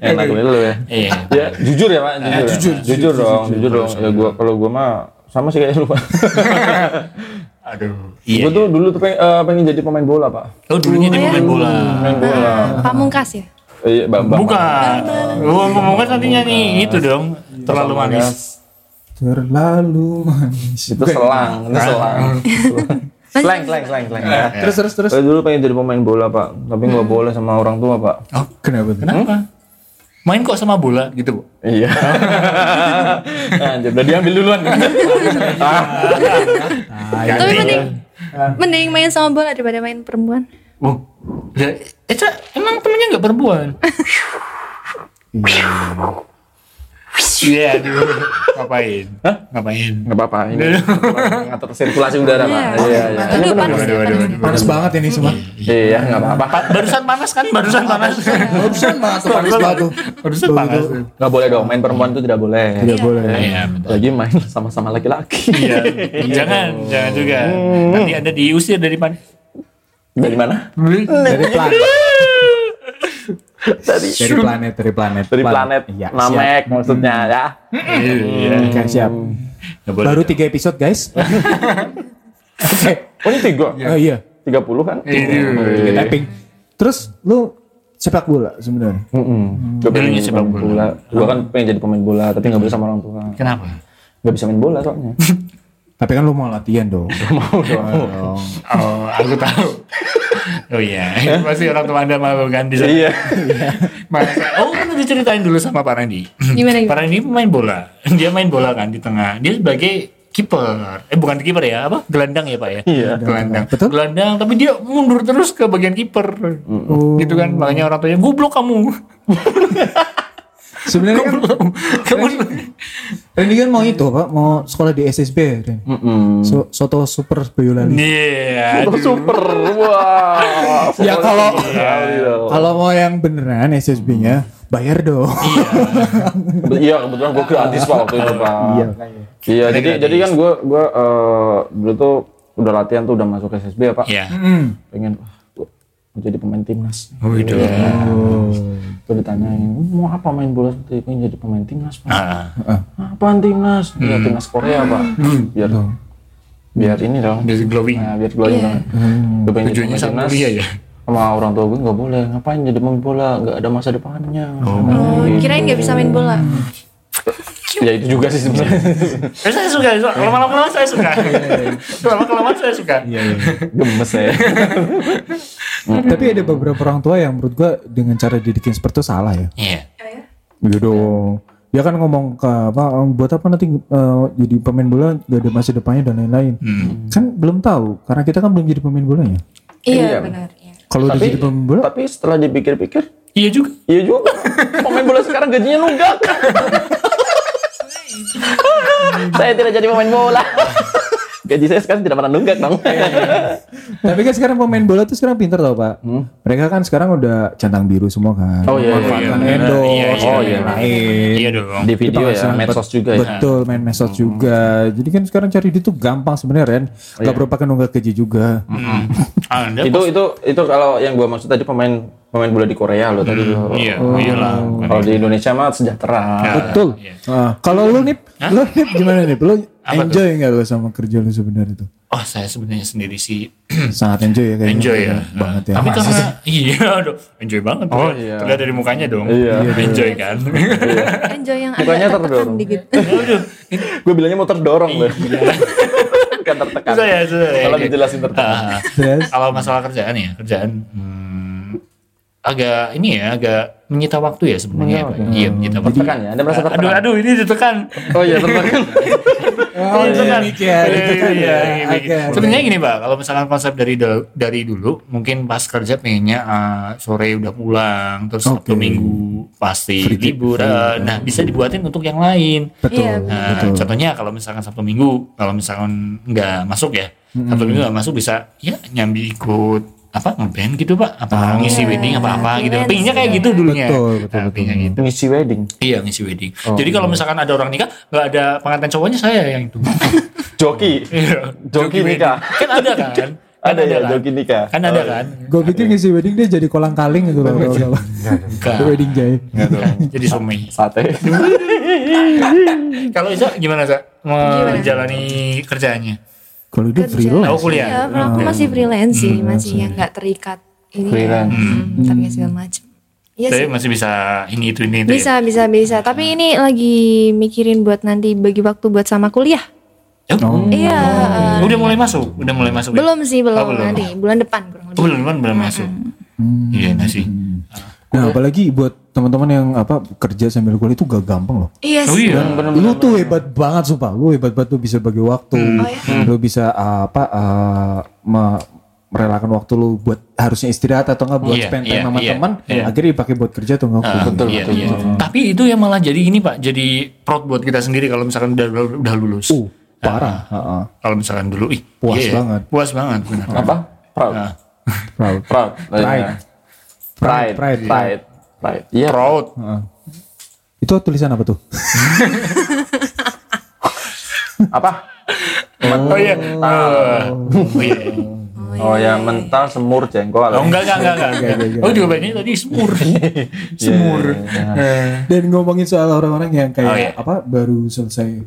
D: Enak gue dulu ya.
C: Iya.
D: Ya, jujur ya, Pak. Jujur, ya. jujur, dong, jujur, dong. Ya gua kalau gua mah sama sih kayaknya lu, Pak.
C: Aduh. Iya.
D: gua tuh dulu tuh pengen, eh, pengen jadi pemain bola, Pak.
C: Oh dulunya dia pemain bola.
D: Pemain bola.
B: Pamungkas ya?
D: Iya, Bang. Bang.
C: Bukan. Gua ngomongnya tadinya nih itu dong. Terlalu manis.
A: Terlalu manis.
D: Itu selang, itu selang. (laughs) Slang, slang, slang, slang. ya.
A: Terus terus terus.
D: Saya dulu pengen jadi pemain bola, Pak. Tapi nggak boleh sama orang tua, Pak.
C: Oh,
A: Kenapa? tuh?
C: kenapa? Hmm? Main kok sama bola gitu, Bu?
D: Iya. (laughs) Anjir, udah diambil duluan.
B: Tapi mending mending main sama bola daripada main perempuan.
C: Oh. Ya, eh, Ca, emang temennya nggak perempuan? Iya, aduh. Ngapain? Ngapain?
D: Nggak apa-apa, ini ngatur sirkulasi udara,
B: Iya.
D: Pak. Iya, iya.
B: Aduh, panas.
C: Waduh, waduh, waduh.
A: Panas banget ini semua.
D: Iya, nggak apa-apa.
C: Pa- barusan panas kan? Barusan panas.
A: Barusan banget tuh panas banget tuh.
C: barusan panas.
D: Nggak boleh dong, main perempuan itu tidak boleh.
A: Tidak boleh.
C: Iya, betul.
D: Lagi main sama-sama laki-laki.
C: Iya. (laughs) Jangan, jangan juga. Nanti Anda diusir dari pan.
D: (laughs) Dari mana?
A: Dari planet. Dari planet, dari planet.
D: Dari planet
A: Iya, siap.
D: Namek maksudnya ya.
C: Iya.
A: Oke, siap.
C: Nggak boleh.
A: Baru tiga episode, guys. (laughs) Oke.
D: Oh ini tiga,
A: Oh iya,
D: tiga puluh kan?
A: tiga tapping. Terus lu sepak bola sebenarnya.
D: Mm-mm. Gua
C: Dulunya
D: pengen
C: sepak
D: pemain
C: bola.
D: bola. Gua kan pengen jadi pemain bola, tapi nggak boleh sama orang tua.
C: Kenapa?
D: Nggak bisa main bola soalnya.
A: Tapi kan lu mau latihan dong.
D: (laughs) Mau dong.
A: Dong.
C: Oh, aku tahu. Oh iya, pasti orang tua Anda malu kan di sana.
D: Iya.
C: Masa- Oh, kan udah ceritain dulu sama Pak Randy.
B: Gimana
C: Pak
B: gitu?
C: Randy main bola. Dia main bola kan di tengah. Dia sebagai kiper. Eh bukan kiper ya, apa? Gelandang ya, Pak ya?
D: Iya.
C: gelandang.
A: Betul.
C: Gelandang, tapi dia mundur terus ke bagian kiper.
A: Oh.
C: Gitu kan, makanya orang tuanya goblok kamu. (laughs)
A: Sebenarnya kan
C: kamu
A: Randy kan mau itu, Pak, mau sekolah di SSB, Ren. So- Soto Super Boyolali.
C: Iya. aduh.
D: Super, Oh, super. Wah.
A: Ya, kalau-
D: Sekali dong.
A: Kalau mau yang beneran SSB-nya, bayar dong.
D: Iya. Kebet- Iya kebetulan gue gratis pak waktu itu pak. Iya. Iya jadi jadi kan gue gue eh, dulu tuh udah latihan tuh udah masuk SSB ya pak.
C: Iya.
A: Hmm.
D: Pengen wah, gua mau jadi pemain timnas.
C: Waduh.
A: Hmm.
D: Gue ditanyain mau apa main bola seperti pengen jadi pemain timnas pak.
C: Ah. Hmm.
D: Apaan timnas? Ya timnas Korea pak. Biar biar ini dong.
C: Dari glowing.
D: Nah, biar glowing dong. Gue pengen jadi
C: Hmm. Tujuannya
D: pemain
C: sama
D: timnas.
C: dia ya.
D: Sama orang tua gue nggak boleh ngapain jadi pemain bola nggak ada masa depannya. Nah, gitu.
B: Oh, kirain gak bisa main bola.
D: Ya itu juga sih
C: (laughs)
D: sebenarnya.
C: Eh, saya suka, saya suka. lama-lama saya suka. Lama-lama saya suka.
D: Gemes ya.
A: Tapi ada
D: Iya.
A: beberapa orang tua yang menurut gua dengan cara didikin seperti itu salah ya.
C: Iya.
A: Iya dong. Dia kan ngomong ke apa "Oh, buat apa nanti eh, jadi pemain bola gak ada masa depannya dan lain-lain.
D: Mm.
A: Kan belum tahu karena kita kan belum jadi pemain bolanya.
B: Iya
D: Iya.
B: benar. Iya.
A: Kalau udah jadi pemain
D: (laughs)
A: bola
D: tapi setelah dipikir-pikir,
C: Iya juga.
D: iya juga. Pemain bola sekarang gajinya nunggak. saya tidak jadi pemain bola. Gaji saya sekarang tidak pernah nunggak, Bang.
C: Iya,
A: Tapi kan sekarang pemain bola tuh sekarang pinter tau pak. Mereka kan sekarang udah centang biru semua kan.
D: Hmm. Oh, iya, iya,
A: Manfaatkan
C: iya, bener.
A: endorse,
C: Iya, iya,
A: oh
C: iya.
A: iya, lain.
C: Iya dong.
D: Di video ya,
A: Penghasilan
D: medsos
A: bet-
D: juga ya. Hmm.
A: Betul, main medsos juga. Jadi kan sekarang cari duit tuh gampang sebenarnya, Ren. Gak
D: Iya.
A: perlu pakai nunggak kerja juga.
C: Hmm. Anda
D: itu itu itu kalau yang gua maksud tadi pemain pemain bola di Korea loh tadi. loh.
C: Iya, iyalah.
D: Kalau di Indonesia mah sejahtera. (laughs)
A: Betul.
C: iya.
A: Ah, kalau lu nip, lu nip gimana nip? Lu enjoy nggak lu sama kerja lu sebenarnya tuh?
C: Oh, saya sebenarnya sendiri sih (clears throat)
A: Sangat enjoy ya kayaknya.
C: Hmm. enjoy ya.
A: Banget ya.
C: Tapi karena iya, aduh, enjoy banget.
D: Oh,
C: Terlihat-
D: iya.
C: Terlihat dari mukanya dong.
D: Iya.
C: Enjoy kan. (laughs)
B: Enjoy Kan yang
D: Mukanya
B: agak tertekan
D: terdorong.
B: dikit.
C: Aduh, itu
D: Gue bilangnya mau terdorong loh. (laughs) kan tertekan.
C: Iya. susah ya, susah ya.
D: Kalau dijelasin tertekan.
C: Ah,
A: Terus?
C: Kalau masalah kerjaan ya, kerjaan hmm, agak ini ya, agak menyita waktu ya sebenarnya. Pak. Iya, menyita waktu.
D: Tertekan ya, Anda merasa tertekan.
C: Aduh, aduh, ini ditekan.
D: Oh iya,
C: (laughs)
D: tertekan.
A: Oh,
C: Iya,
A: iya,
C: iya, iya, iya, iya.
A: Oke.
C: Sebenarnya gini pak, kalau misalkan konsep dari dal- dari dulu, mungkin pas kerja pengennya ah, sore udah pulang, terus
A: Oke.
C: Sabtu minggu pasti
A: Free-
C: libur. eh, nah bisa dibuatin untuk yang lain.
A: Betul,
B: Iya,
C: Nah,
A: betul.
C: contohnya kalau misalkan Sabtu Minggu, kalau misalkan nggak masuk ya, Sabtu Minggu nggak masuk bisa ya nyambi ikut apa ngeband gitu pak, apa ngisi wedding apa apa gitu.
B: Events,
C: Pinginnya kayak gitu
A: Ah.
C: dulunya.
A: Betul, betul,
C: Nah, pinginnya gitu.
D: Ngisi wedding.
C: Iya ngisi wedding.
D: Oh,
C: Jadi kalau
D: iya.
C: misalkan ada orang nikah, nggak ada pengantin cowoknya saya yang
D: (laughs)
C: itu.
D: Joki.
C: Iya.
D: Joki nikah.
C: Kan ada kan? Kan
D: Ada ya, joki nikah. iya.
C: Kan ada kan?
A: Gue pikir ngisi wedding dia jadi kolang kaling gitu loh. kalau-
C: Enggak.
A: kalau Wedding jahit.
C: Enggak. (laughs) Jadi suami.
D: Kan. Sate.
C: Kalau Isa gimana Sa?
B: Gimana?
C: Menjalani kerjaannya?
A: Kalau dia
B: Kerja.
C: Aku
A: freelance.
C: kuliah.
B: Iya,
D: Nah.
B: kalau aku masih freelance sih, masih yang nggak terikat ini. ya.
D: Freelance.
B: Hmm, tapi segala macam. Iya
C: Tapi
B: sih.
C: masih bisa ini itu ini itu. ya?
B: Bisa, bisa, bisa. Tapi ini lagi mikirin buat nanti bagi waktu buat sama kuliah.
C: Ya?
D: Oh.
B: Iya.
C: Udah mulai masuk, udah mulai masuk. ya?
B: Belum Hmm. sih, belum,
C: Oh, belum.
B: nanti bulan depan kurang
C: Oh,
B: lebih.
C: belum belum, belum masuk. Iya nasi.
B: Hmm.
A: Nah, apalagi buat teman-teman yang apa kerja sambil kuliah itu gak gampang loh.
B: Iya
C: Oh
B: sih.
C: iya.
A: lu tuh hebat banget sumpah lu hebat banget lu bisa bagi waktu
C: Hmm.
B: Oh ya?
A: lu bisa uh, apa uh, me- merelakan waktu lu buat harusnya istirahat atau enggak buat
C: Iya,
A: spend time
C: iya,
A: sama
C: iya,
A: teman
C: iya.
A: akhirnya dipakai buat kerja atau enggak
D: Betul,
C: iya,
D: betul,
C: iya. Tapi itu yang malah jadi ini Pak, jadi proud buat kita sendiri kalau misalkan udah udah lulus.
A: Uh, parah ah.
C: Ah.
A: Heeh.
C: Kalau misalkan dulu ih
A: Puas
C: iya,
A: banget.
C: Puas banget benar.
D: Apa? Proud.
C: Nah,
A: proud
D: Proud. Iya.
A: Pride. Pride.
D: Pride. Pride. Pride. Pride. Iya.
C: proud.
A: Heeh. itu tulisan apa tuh
D: Apa?
C: Oh iya. Oh iya.
D: Oh ya, mental semur jengkol.
C: Oh enggak enggak enggak enggak.
A: enggak,
C: Oh jawabannya tadi semur. Semur. Eh,
A: (laughs) dan ngomongin soal orang-orang yang kayak
C: Oh, iya. Ah.
A: apa baru selesai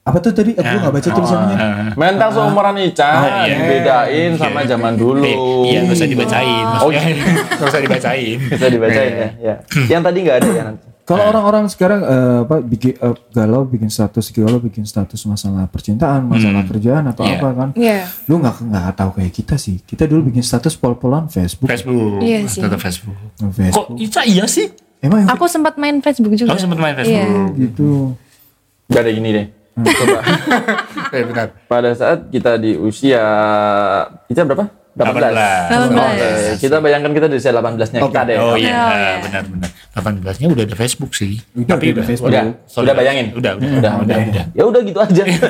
A: apa tuh tadi aku nggak baca tulisannya
C: Oh,
D: Mental seumuran Ica dibedain sama zaman dulu.
C: Eh, Ah, Iya nggak usah dibacain. Maksudnya (laughs) nggak usah dibacain. Eh,
D: Bisa dibacain
C: Iya.
D: ya. ya. Yang tadi nggak ada ya nanti.
A: Kalau orang-orang sekarang eh, apa bikin eh, galau bikin status galau bikin status masalah percintaan, masalah kerjaan atau
C: Iya.
A: apa kan?
B: Iya.
A: Lu nggak nggak tahu kayak kita sih. Kita dulu bikin status pol-polan Facebook.
C: Facebook.
B: Iya sih.
C: Tetap Facebook. Kok
A: Facebook.
C: Ica iya sih?
A: Emang
B: Aku sempat main Facebook juga.
C: Kamu sempat main
B: (laughs) Iya.
C: Facebook.
A: gitu.
D: Gak ada gini deh. Coba.
C: Iya benar.
D: Pada saat kita di usia Ica berapa?
C: 18.
B: 18.
D: 18. Oke, Kita bayangkan kita di usia 18-nya kita deh.
C: Oh iya,
B: Iya, iya.
C: benar benar. 18-nya udah ada Facebook sih.
A: Udah, udah ada Facebook.
D: Udah,
C: sorry.
D: udah bayangin.
C: Udah, udah,
D: udah, udah. (laughs) Ya udah gitu
C: (laughs)
D: aja.
C: Ada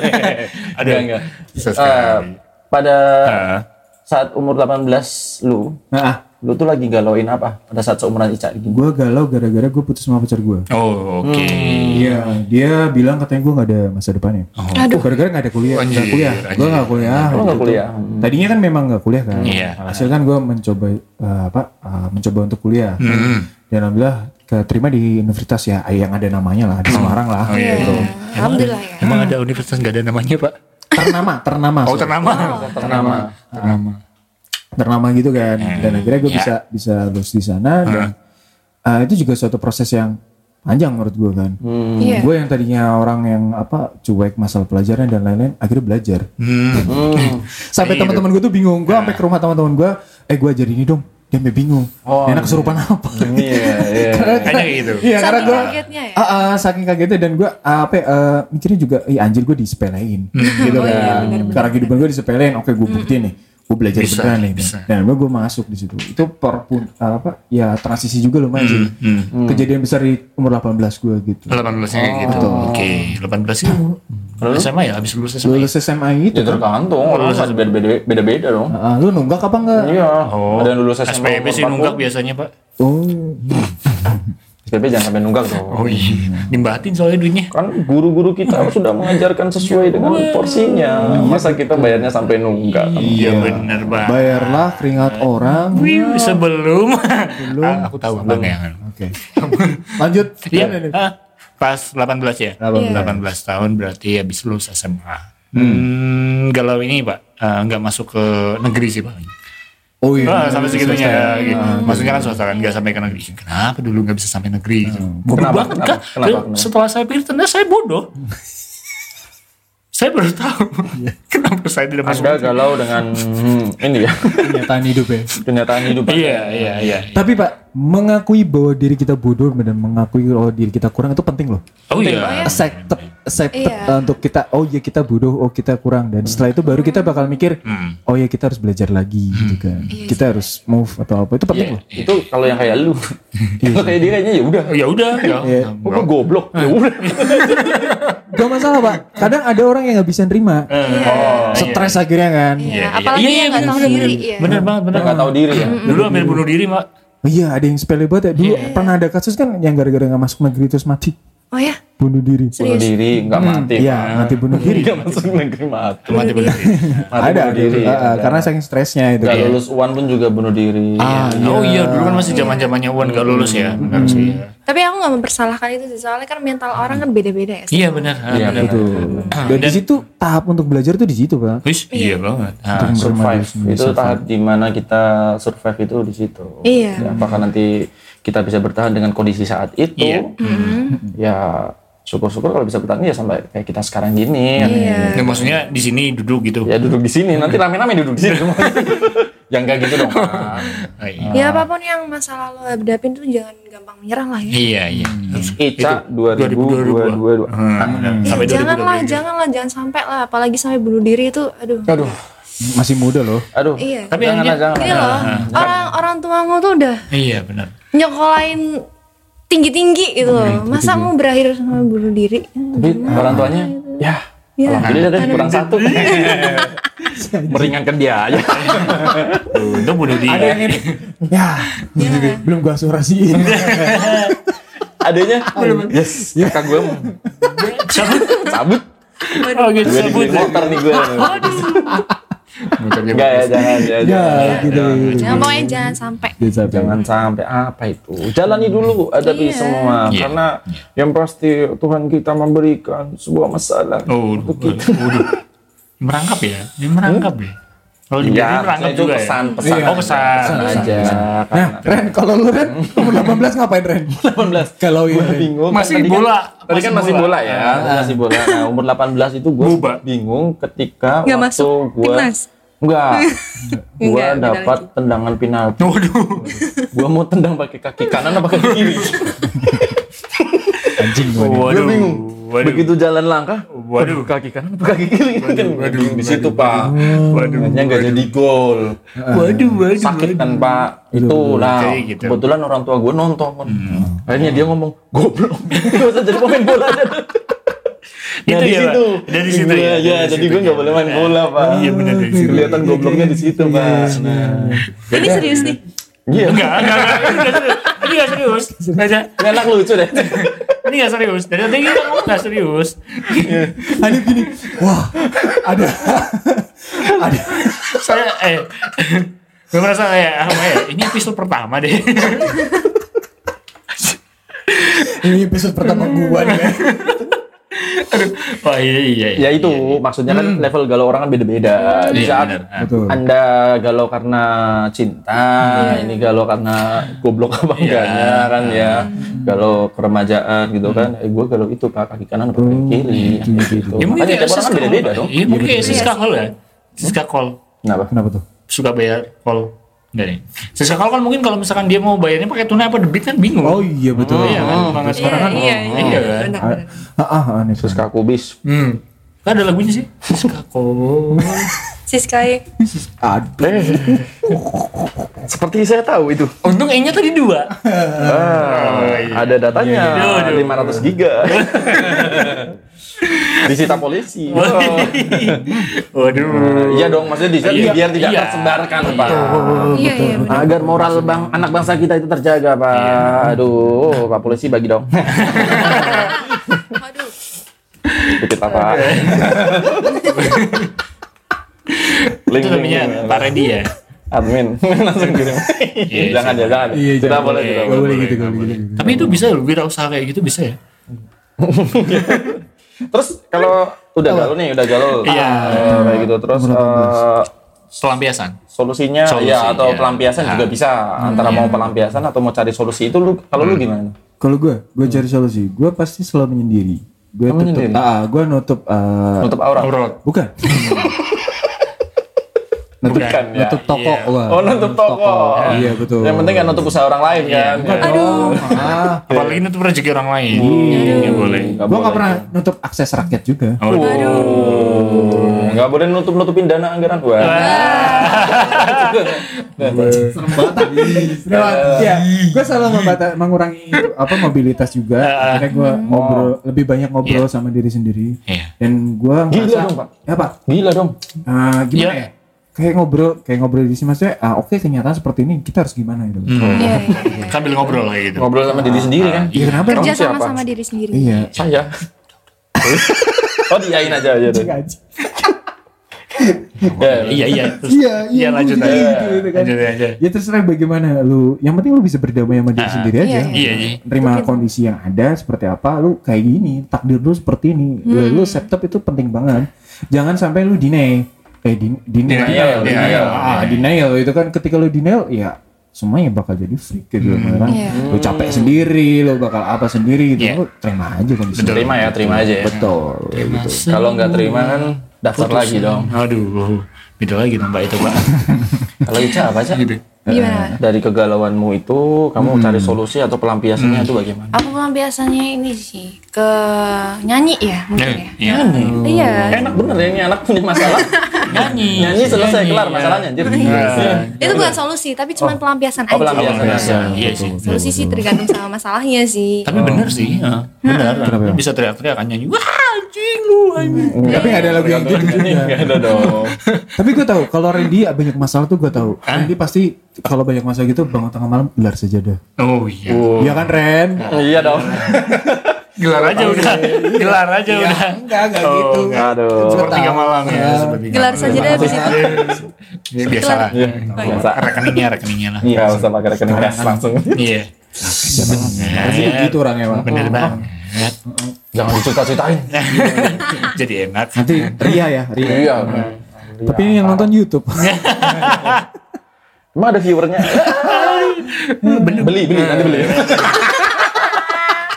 D: Enggak, enggak.
C: Susah
D: Eh,
C: sekali.
D: pada
C: Ah.
D: saat umur 18 lu,
A: Nah,
D: lu tuh lagi galauin apa? Pada saat seumuran Ica gini.
A: gue galau gara-gara gue putus sama pacar gue.
C: Oh, oke.
A: Iya, dia bilang katanya gue nggak ada masa depannya.
B: Aduh.
A: Oh, gara-gara nggak ada kuliah,
C: Anjir,
A: nggak kuliah. Gue nggak kuliah.
D: Lu nggak
A: gitu.
D: kuliah.
A: Tadinya kan memang nggak kuliah kan.
C: Iya.
A: Hasil kan gue mencoba eh, apa? eh, mencoba untuk kuliah. Dan alhamdulillah keterima di universitas ya eh, yang ada namanya lah di Semarang lah.
B: Iya.
A: gitu.
B: Alhamdulillah ya.
C: Emang ada universitas nggak ada namanya, Pak?
A: Ternama, ternama.
C: Oh,
A: sorry.
C: ternama.
D: Ternama.
C: Ternama.
A: ternama gitu kan. Dan akhirnya gue bisa bisa lulus di sana. Dan eh, itu juga suatu proses yang panjang menurut gue kan.
D: Hmm.
B: Iya.
A: Gue yang tadinya orang yang apa cuek masalah pelajaran dan lain-lain, akhirnya belajar.
C: Hmm.
A: (laughs) sampai teman-teman gue tuh bingung gue sampai ke rumah teman-teman gue eh gue ajarin ini dong dia sampai bingung
D: Oh,
A: Nenek kesurupan apa
D: Iya, iya.
C: Kayaknya gitu.
A: (laughs) Iya
B: Saking
A: karena gue
B: kagetnya
C: Iya,
B: ya?
A: Ah, saking kagetnya dan gue apa ya, eh, mikirnya juga "Ih, anjir gue disepelein
C: Hmm.
A: gitu
B: Oh,
A: kan
B: iya, benar-benar.
A: karena kehidupan gue disepelein oke gue buktiin nih gue belajar
C: Bisa,
A: beneran nih
C: bisa.
A: dan gue masuk di situ itu perpun apa ya transisi juga lumayan sih
C: Hmm.
A: kejadian besar di umur 18 gue gitu
C: 18 nya kayak gitu. Oke, 18 itu SMA ya habis lulus SMA.
A: lulus SMA
D: Ya
A: gitu kan
D: tergantung, orang pasti beda-beda beda-beda dong.
A: Ah, lu nunggak apa enggak
D: Iya.
C: Oh,
D: Ada yang lulus SMA
C: SPB
D: umur
C: sih
D: 40.
C: nunggak biasanya, Pak.
A: oh
D: SPB jangan sampai nunggak dong.
C: Oh iya, dimbatin soalnya duitnya.
D: Kan guru-guru kita sudah mengajarkan sesuai dengan porsinya. Masa kita bayarnya sampai nunggak?
C: Iya bener Pak.
A: bayarlah keringat orang
C: Wih, sebelum, Ah, aku tahu abang ya.
A: oke lanjut
C: Iya,
A: Gimana nih?
C: ah, pas 18 ya.
A: 18.
C: 18 tahun berarti habis lulus SMA. Hmm, galau ini Pak, eh, nggak masuk ke negeri sih Pak.
A: oh iya
C: Ah, sampai segitunya. gitu. Maksudnya kan swasta kan nggak sampai ke negeri. Kenapa dulu nggak bisa sampai negeri? gitu. Bodoh
D: Kenapa,
C: banget,
D: kenapa,
C: Kak.
D: kenapa,
C: Terus
D: kenapa?
C: eh, Setelah saya pikir ternyata saya bodoh. saya baru tahu kenapa saya tidak masuk.
D: Anda galau dengan hmm, ini ya (laughs)
A: kenyataan hidup ya
D: kenyataan hidup.
C: Iya, iya, iya.
A: Tapi Pak, mengakui bahwa diri kita bodoh dan mengakui bahwa diri kita kurang itu penting loh.
C: Oh iya.
A: Accept, accept
B: Iya. Hmm.
A: uh, untuk kita, oh iya kita bodoh, oh kita kurang. Dan setelah itu baru kita bakal mikir, oh iya kita harus belajar lagi gitu kan.
B: Iya
A: Kita harus move atau apa, itu penting
D: Iya.
A: loh.
D: Itu kalau yang kayak lu, kalau kayak dia kayaknya ya udah.
C: Oh, ya udah, ya.
D: Oh, gua goblok. Ya udah.
A: Gak masalah Pak, kadang ada orang yang gak bisa nerima.
C: Oh,
A: Stres akhirnya kan.
B: Iya, apalagi yang nggak tahu
C: bener,
B: diri,
C: bener.
B: ya.
C: Bener banget, bener.
D: Nggak tahu diri ya.
C: Dulu hampir bunuh diri, Mak.
A: Iya ada yang sepele banget ya. Dulu pernah ada kasus kan yang gara-gara gak masuk negeri terus mati.
B: Oh ya?
A: Bunuh diri.
D: Bunuh diri nggak mati.
A: Iya mati bunuh diri.
D: Nggak masuk negeri mati.
C: Mati bunuh diri.
D: Mati
A: ada,
D: bunuh diri.
A: ada.
D: Iya.
A: Ah, ah, karena saking stresnya itu.
D: Nggak
A: kan.
D: lulus UAN pun juga bunuh diri.
C: Oh iya, dulu kan masih zaman-zamannya Wan gak lulus ya. Benar sih. ya.
B: Tapi aku nggak mempersalahkan itu sih, soalnya kan mental orang kan beda-beda ya.
C: Iya, benar. ah,
D: Iya,
C: benar.
A: Tuh. Dan di situ tahap untuk belajar tuh di situ Pak.
C: Wis, iya banget. Ah,
D: survive itu tahap dimana kita survive itu di situ.
B: Iya.
D: Ya, apakah nanti kita bisa bertahan dengan kondisi saat itu?
C: Iya.
D: Ya syukur-syukur kalau bisa bertahan ya sampai kayak kita sekarang gini.
C: Ya, maksudnya di sini duduk gitu.
D: Ya duduk di sini nanti rame-rame duduk di sini semua. Yang kayak gitu dong. Pak.
C: Ah, iya.
B: Ya apapun yang masa lalu hadapin tuh jangan gampang menyerah lah ya.
C: Iya, iya.
D: Ica 2022.
C: Hmm, Sampai
B: Iya, janganlah,
C: 2022.
B: janganlah, jangan sampai lah. Apalagi sampai bunuh diri itu, aduh.
D: Aduh,
A: Masih muda loh.
D: aduh.
B: Iya.
C: Tapi
D: jangan
C: akhirnya-
D: lah, jangan.
B: Ini
D: lah.
B: loh, orang orang tuamu tuh udah
C: Iya, benar.
B: nyokolain tinggi-tinggi gitu loh. Masa mau berakhir sama bunuh diri?
D: Tapi orang tuanya ya
B: Ya.
D: Alhamdulillah deh kurang satu. (laughs) Meringankan dia aja.
C: Untung bunuh diri.
A: Ada yang ini. Ya,
B: Iya.
A: (laughs) belum gua asurasiin.
D: Adanya yes, kakak gue mau
C: Cabut.
D: cabut.
C: Oh, gitu.
D: Gue
C: Cabut.
D: dibeliin motor nih gue.
C: Motornya
D: Enggak ya, jangan, jangan,
A: ya,
D: jangan.
A: gitu.
B: Jangan pokoknya jangan sampai.
A: Jangan.
D: Jangan sampai apa itu. Jalani dulu hadapi
B: Iya.
D: semua
C: Iya.
D: karena yang pasti Tuhan kita memberikan sebuah masalah.
C: Oh, waduh, waduh. merangkap ya? Ini merangkap ya? Kalau dibilang
D: Ya,
C: merangkap
D: itu
C: juga
D: pesan,
C: ya?
D: pesan.
C: Oh, pesan.
D: aja.
A: Nah, Ren, kalau lu Ren, umur 18 ngapain Ren?
D: 18.
A: Kalau ini Ren.
D: bingung.
C: Masih
D: Tadi kan-
C: bola. Ah.
D: Tadi kan masih bola, ya, masih bola. Nah, umur 18 itu gue
C: Boba.
D: bingung ketika
B: Nggak
D: waktu
B: masuk
D: gue
B: timnas? (laughs)
D: enggak gue
B: Nggak, beda
D: dapat tendangan penalti.
C: Waduh.
D: Gue mau tendang pakai kaki kanan apa kaki kiri?
A: anjing gua nih.
D: Gue
C: Waduh.
D: bingung.
C: Waduh.
D: Begitu jalan langkah,
C: Waduh.
D: kaki kanan apa kaki kiri? Kan gue bingung di situ, Pak.
C: Waduh.
D: Hanya nggak jadi gol.
C: Waduh, waduh.
D: Sakit kan, Pak. Itu lah.
C: Kayak gitu. Hmm.
D: Kebetulan orang tua gue nonton. Akhirnya dia ngomong, goblok. (laughs) Gak usah jadi pemain bola.
C: Itu
D: Nah, di
C: ya, Pak?
D: situ.
C: Dari situ ya?
D: Iya,
C: Dari
D: iya, jadi
C: situ
D: gue nggak
C: ya.
D: boleh main bola, Pak.
C: Iya, benar, dari situ. Iya,
D: Kelihatan gobloknya di situ, Pak. Nah.
B: Ini serius nih.
D: Iya.
C: Enggak, enggak, enggak. Ini nggak serius. Ini nggak serius. Aja.
D: Ini anak lucu
C: (laughs)
D: deh.
C: Ini nggak serius. Dari tadi kita ngomong nggak serius.
A: Hanif gini. Wah, ada. ada.
C: Saya, eh. Gue merasa kayak, apa ya, ini episode pertama deh. (laughs)
A: Ini episode pertama gua nih. Ren.
C: Wah, iya, iya. iya.
D: ya itu maksudnya kan level galau orang kan beda-beda. Di
C: Hmm. Iya,
D: saat
C: benar. Ah.
A: Betul.
D: Anda galau karena cinta, ini galau karena goblok apa
C: Iya.
D: enggaknya kan ya.
C: Hmm.
D: Galau keremajaan gitu kan. Eh, gue galau itu Pak, kaki kanan apa kaki kiri
C: Ya,
D: gitu.
C: mungkin
D: Makanya
C: kayak
D: tiap orang kan
C: Siska
D: beda-beda
C: Hall.
D: dong.
C: Iya, mungkin kayak Siska Hall ya. Siska Hall.
D: Kenapa?
A: Kenapa tuh?
C: Suka bayar call. Enggak nih. Sesekal kan mungkin kalau misalkan dia mau bayarnya pakai tunai apa debit kan bingung.
A: Oh iya betul.
C: Iya kan, banget sekarang kan.
B: iya,
C: iya
B: iya,
C: kan.
B: benar,
A: Ah,
B: benar.
A: ah, ah, aneh
D: Terus
A: banget.
D: kaku bis.
C: Hmm. Kan ada lagunya sih. Skako.
B: Siska ya.
A: Aduh.
D: Eh, Seperti saya tahu itu.
C: Untung E-nya tadi (laughs) dua.
D: Ah, ada datanya
C: Iya, iya. Aduh, aduh.
D: 500 giga. Disita polisi.
C: Waduh.
D: Iya dong, maksudnya disita
C: Oh. Iya.
D: biar tidak
C: Iya.
D: tersebarkan, Pak.
B: Iya, iya, benar.
D: Agar moral bang anak bangsa kita itu terjaga, Pak. Aduh, Pak polisi bagi (laughs) dong.
B: Waduh.
D: Titip apa? (laughs) Link
C: Itu namanya Pak Reddy ya.
D: admin (laughs) langsung kirim.
C: Iya,
D: jangan ya, jangan.
A: Iya,
D: Kita
A: jangan.
D: boleh, kita
A: Gak
D: boleh.
A: boleh gitu, gak boleh gitu.
C: Tapi itu bisa loh, wirausaha kayak gitu bisa ya.
D: Terus kalau udah galau nih, udah galau.
C: Iya.
D: Eh, kayak gitu terus eh,
C: Selampiasan.
D: solusinya Hmm.
C: Solusi,
D: Iya. ya atau
C: iya.
D: pelampiasan juga bisa antara mau pelampiasan atau mau cari solusi itu lu kalau lu gimana?
A: Kalau gue, gue cari solusi. Gue pasti selalu menyendiri. Gue
D: Kamu
A: tutup,
D: menyendiri?
A: ah, gue nutup, ah,
D: Nutup aurat.
C: Aurat.
D: (laughs)
A: bukan,
D: Nutup kan ya.
A: nutup toko.
C: Iya.
A: Wah,
D: Oh, nutup toko.
A: Iya betul.
D: Yang penting kan nutup usaha orang lain kan.
A: Aduh. Ah,
C: Apalagi itu rezeki orang lain. Iya boleh.
D: Nggak
A: gue
D: boleh.
A: nggak pernah nutup akses rakyat juga.
C: Oh,
D: Oh, nggak boleh nutup-nutupin dana anggaran gua.
A: Serem banget Iya, gue selalu membata- mengurangi itu, apa mobilitas juga.
C: Ah.
A: Akhirnya gue ngobrol lebih banyak ngobrol sama diri sendiri.
C: Hmm. Iya.
A: Dan gue
D: Gila
A: ngerasa
D: dong, Pak.
A: Ya, Pak.
D: Gila dong.
A: Ah, gimana
C: Iya.
A: ya? Kayak ngobrol, kayak ngobrol di sini maksudnya. ah, Oke, kenyataan seperti ini kita harus gimana gitu.
C: Hmm.
B: Iya, iya.
C: Sambil ngobrol kayak gitu.
D: Ngobrol sama diri sendiri kan.
A: Iya kenapa? emang?
B: Kerja
D: Kamu siapa?
B: sama sama diri sendiri.
A: Iya.
D: Saya. oh, diain aja aja deh. Ya,
C: Iya iya. Terus-
A: Iya,
C: Iya
A: iya,
C: lanjut
A: gitu,
C: aja.
A: gitu, gitu kan.
C: Lanjut aja.
A: Ya terserah bagaimana lu. Yang penting lu bisa berdamai sama diri
C: Ah,
A: sendiri aja.
B: iya,
C: Iya iya.
A: Terima kondisi yang ada seperti apa, lu kayak gini, takdir lu seperti ini. Lu, lu accept itu penting banget. Jangan sampai lu deny. Eh din- denial,
D: Denial,
A: denial.
D: Iya. denial.
A: Ah, denial itu kan ketika lu denial ya semuanya bakal jadi freak gitu
D: Hmm.
A: kan.
B: Iya.
A: Lu capek sendiri, lu bakal apa sendiri gitu.
C: Iya.
A: Lu terima aja kondisi.
C: Betul.
D: Terima ya, terima aja ya.
A: Betul. kayak gitu.
D: Kalau nggak terima kan daftar lagi dong.
C: Aduh, beda lagi nambah itu pak.
D: Kalau Ica apa aja?
B: Gimana?
D: Dari kegalauanmu itu, kamu cari solusi atau pelampiasannya itu bagaimana?
B: Aku malah biasanya ini sih ke nyanyi ya mungkin ya.
C: Iya.
B: Iya.
D: Enak bener ya, ini anak (laughs) punya masalah.
C: Nyanyi.
D: Nyanyi selesai, kelar masalahnya. Anjir. Iya.
B: Itu bukan solusi, tapi cuma pelampiasan
D: Oh,
B: aja.
D: pelampiasan.
C: Biasa. Iya sih.
B: Solusi sih tergantung sama masalahnya sih.
C: Tapi bener sih, ya. bener. Lu bisa teriak-teriak kan nyanyi. Wah, anjing lu anjing.
A: Tapi nggak ada lagu yang gitu.
D: Nggak ada (laughs) dong.
A: Tapi gue tahu kalau Randy ya banyak masalah tuh gue tahu. Randy pasti kalau banyak masalah gitu bangun tengah malam gelar sajadah.
C: Oh iya.
A: Iya kan Ren?
D: Iya dong.
C: Gelar aja udah. Gelar aja udah.
A: Enggak, enggak
C: Oh,
A: gitu.
D: Aduh.
C: Sepertiga malam ya. Iya, sepertiga
B: Gelar
C: malam.
B: saja deh habis itu.
C: Ya, biasa lah. Iya.
D: Biasa.
C: Rekeningnya, rekeningnya lah.
D: Iya, usah pakai rekening cash langsung.
C: Iya.
A: Harusnya begitu orangnya, Pak.
C: Bener banget.
D: Jangan dicita-citain.
C: Iya. Jadi enak.
A: Nanti Ria ya, Ria.
D: Iya.
A: Tapi ini yang nonton
C: (laughs)
A: YouTube.
C: Iya.
D: Emang ada viewernya? beli, beli, beli, nanti beli.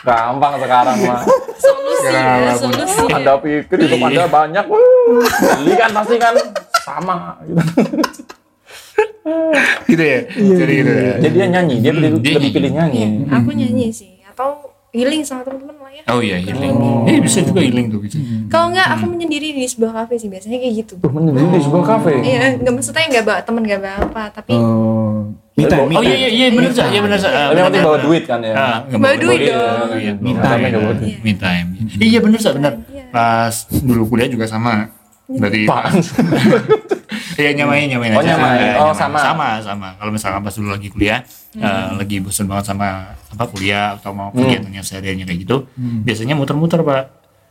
D: Gampang sekarang mah.
B: Solusi ya, solusi.
D: Anda pikir itu Anda banyak, wuh. beli kan pasti kan sama. gitu.
C: Gitu ya. Jadi gitu ya.
D: Jadi dia nyanyi, dia pilih,
C: Dia
D: lebih pilih nyanyi.
B: Iya, aku nyanyi sih atau healing sama teman-teman lah ya.
C: Oh iya, healing. Eh bisa juga healing tuh gitu.
B: Kalau enggak aku menyendiri di sebuah kafe sih biasanya kayak gitu.
D: Tuh menyendiri di sebuah kafe.
B: Iya, enggak maksudnya enggak bawa teman enggak bawa apa, tapi
A: Oh, minta,
C: Oh iya iya iya benar sih, iya benar sih.
D: Tapi yang penting bawa duit kan
C: Ah,
D: ya.
B: bawa duit dong.
C: Iya, Minta
D: Tapi nggak boleh.
C: Minta ya. Iya benar sih benar. Pas dulu kuliah juga sama. Berarti
D: Apaan?
C: (laughs) Iya nyamain nyamain
D: Oh,
C: aja.
D: nyamain.
C: Iya, nyamain.
D: Oh, sama.
C: Sama sama. Kalau misalkan pas dulu lagi kuliah,
A: Hmm.
C: eh, lagi bosan banget sama apa kuliah atau mau
D: Hmm.
C: kegiatannya sehariannya kayak gitu,
A: Hmm.
C: biasanya muter-muter pak.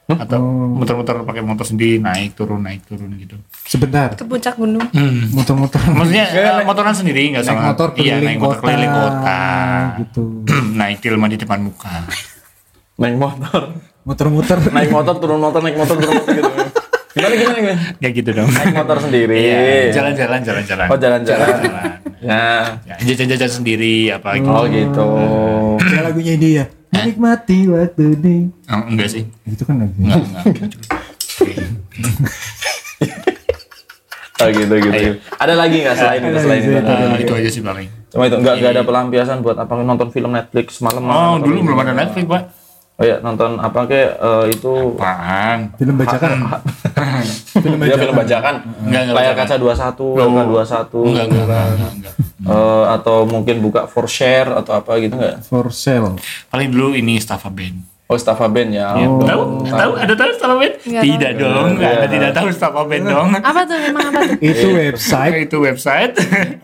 D: Hmm?
C: Atau
A: Oh.
C: muter-muter pakai motor sendiri naik turun naik turun gitu.
A: sebentar.
B: ke puncak gunung.
C: Hmm. (laughs)
A: Muter-muter.
C: Maksudnya eh, motoran sendiri nggak
A: Naik
C: sama
A: motor
C: iya,
A: keliling
C: naik motor
A: kota,
C: keliling kota.
A: gitu.
C: (clears throat) naik tilma Nah, di depan muka.
D: Naik motor,
A: Muter-muter.
D: naik motor, turun motor, naik motor, turun motor gitu. Gimana gimana gimana?
C: Ya gitu dong.
D: Naik motor sendiri.
C: Iya, jalan-jalan jalan-jalan.
D: Oh jalan-jalan.
C: Jalan.
D: Ya.
C: Ya, jajan-jajan sendiri apa gitu.
D: Oh gitu.
A: Kayak lagunya dia. Menikmati waktu Gitu di.
C: Oh, enggak sih.
D: (laughs)
A: Itu kan lagu.
C: Enggak, enggak.
D: Eh, Oh, gitu gitu. Ada lagi nggak selain itu selain itu?
C: Eh, itu aja sih paling
D: Cuma itu nggak nggak ada pelampiasan buat apa nonton film Netflix malam.
C: oh dulu belum ada Netflix pak
D: Oh ya nonton apa ke eh, itu
C: apaan
A: Film bajakan. film
D: dia film bajakan.
C: Nggak, nggak
D: Kan Layar
C: bajakan. Oh,
D: kaca 21, Layar 21.
C: enggak enggak enggak, enggak, enggak.
D: Eh, atau mungkin buka for share atau apa gitu nggak?
A: for sale.
C: paling dulu ini Staffa Band
D: Oh, Stafa Band ya.
C: Ya, tahu tahu ada tahu Staffa Band
B: Nggak
C: tidak dong
D: Iya.
C: nggak ada tidak tahu Staffa Band dong
B: Apa tuh memang apa
C: (laughs)
B: tuh?
A: Itu
C: Eh,
D: Iya.
A: website
C: itu website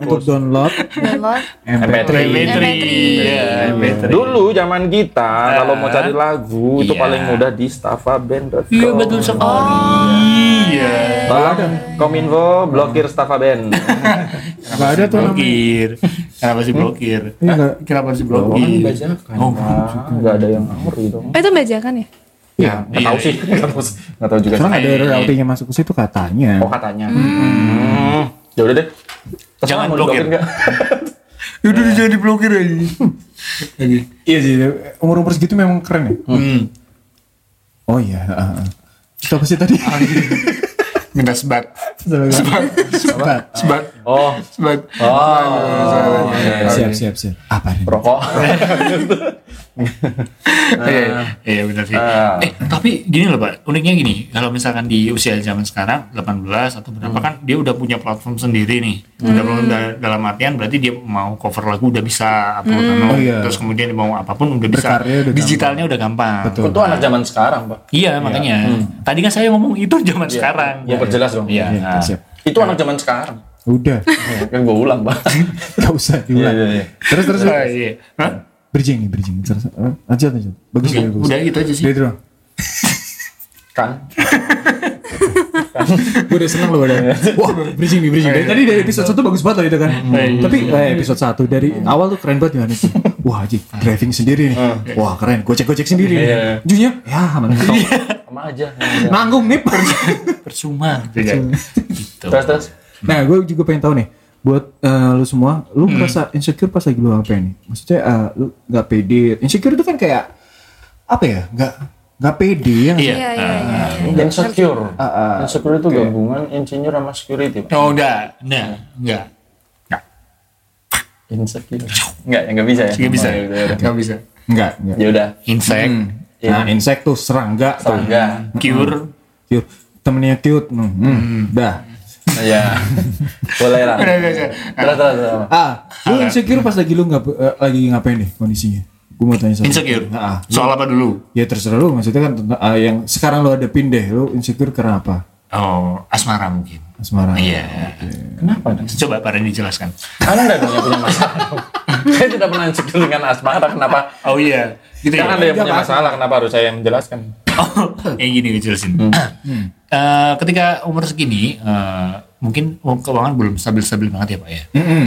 A: untuk download
B: Download.
A: MP3.
C: MP3 ya MP3
D: Dulu zaman kita kalau mau cari lagu
C: Ah,
D: itu
C: Iya.
D: paling mudah di stafaband.com.
C: iya betul sekali iya
D: Bang, Kominfo blokir Stafa
C: (laughs)
D: Band.
A: Nggak ada tuh namanya.
C: blokir kenapa sih blokir Eh,
A: Iya, nggak.
C: kenapa sih blokir
D: Oh, enggak ada yang ngeri dong.
B: Oh, itu bajakan ya?
A: Ya,
C: Iya,
D: Enggak tahu sih, enggak tahu sih. (laughs) Nggak tahu juga.
A: sekarang
D: sih.
A: ada
C: Eh,
A: royaltinya masuk ke situ katanya.
D: Oh, katanya. Hmm. Ya udah deh. Terserah
C: Jangan
D: mau
C: blokir.
D: diblokir nggak?
C: Udah jangan diblokir
A: ya.
C: aja. Lagi.
A: Iya sih, umur umur segitu memang keren ya.
C: Hmm.
A: Oh iya. ah, ah. Itu apa sih tadi? (laughs)
C: Minta sebat.
A: Sebat. Sebat.
C: Sebat.
D: Oh.
C: Sebat.
D: Oh. iya, iya.
A: Siap siap siap. Apa nih?
D: Rokok.
C: Iya,
D: Nah,
C: iya benar sih.
D: Ah.
C: Eh, tapi gini loh, Pak. Uniknya gini, kalau misalkan di usia zaman sekarang 18 atau berapa
D: Hmm.
C: kan dia udah punya platform sendiri nih.
A: Hmm.
C: Udah belum da- dalam artian berarti dia mau cover lagu udah bisa upload
A: Oh, iya.
C: terus kemudian dia mau apapun udah bisa.
A: Berkarya udah
C: Digitalnya udah gampang.
A: Betul.
D: Itu anak zaman sekarang, Pak.
C: Iya, makanya. Tadi kan saya ngomong itu zaman sekarang.
D: Hmm. Iya. Mau perjelas dong.
C: Iya.
A: Iya,
C: Nah.
A: siap.
D: Itu anak zaman sekarang.
A: Udah.
D: Ya, kan gue ulang, Pak.
A: Gak usah diulang.
D: Iya, iya, iya.
A: Terus terus.
C: Ah, iya. Hah?
A: Bridging nih, bridging. Terus, eh, lanjut lanjut. Bagus
C: Udah,
A: bagus.
C: udah gitu aja sih.
D: Iya.
A: Udah itu doang.
D: Kan.
A: Gue udah seneng loh udah. (laughs) Wah, bridging nih, bridging. Dari, tadi dari episode 1 bagus banget loh itu kan. Tapi eh, episode 1 dari awal tuh keren banget Yohanes. Wah, Ji, driving sendiri nih. Wah, keren. Gocek-gocek sendiri nih.
D: Iya.
A: Ujungnya, ya mantap.
D: Sama aja. sama aja.
A: Nanggung nih.
C: Percuma. Gitu. Gitu.
D: Iya. (laughs) Terus terus.
A: Nah, gue juga pengen tahu nih buat eh, lu semua, lu
C: Hmm.
A: merasa insecure pas lagi lu apa nih? Maksudnya eh, lu nggak pede. Insecure itu kan kayak apa ya? Nggak nggak pede ya. nggak sih?
C: Iya.
B: Iya, iya, iya.
D: Insecure.
A: Ah, ah.
D: Insecure itu gabungan insinyur sama security, Pak.
C: Oh, enggak. Nah, enggak. Enggak.
D: Insecure. Enggak, ya enggak bisa ya.
C: Enggak bisa.
D: Oh, ya udah, ya udah.
C: Enggak bisa.
A: Nggak, nggak.
C: Iya.
D: Ya udah.
C: Insek,
D: Hmm.
C: Iya.
A: Nah, insect tuh serangga tuh.
D: Serangga.
C: cure.
A: Cute. Temennya cute. Hmm, hmm. Dah.
D: Iya. Boleh lah. Terus terus. terus.
A: Ah, lu insecure pas lagi lu nggak eh, lagi ngapain nih kondisinya? Gue mau
D: Hmm.
A: tanya sama.
C: Insecure.
A: Ah, ah.
C: Soal apa dulu?
A: Ya terserah lu maksudnya kan tentang- ah, yang sekarang lu hadapin deh, lu insecure karena apa?
C: Oh, asmara mungkin.
A: Asmara.
D: Ah,
C: Iya.
D: Kenapa? Anda?
C: Coba Pak Randy jelaskan.
D: Anda dong yang punya masalah. Saya tidak pernah insecure dengan asmara. Kenapa?
C: Oh iya. Gitu ya.
D: Kan Anda yang punya masalah. Kenapa harus saya yang menjelaskan?
C: (laughs) Oh, kayak gini gue jelasin.
D: Hmm.
C: Ah. Eh, ketika umur segini, eh, mungkin uang keuangan belum stabil-stabil banget ya Pak ya.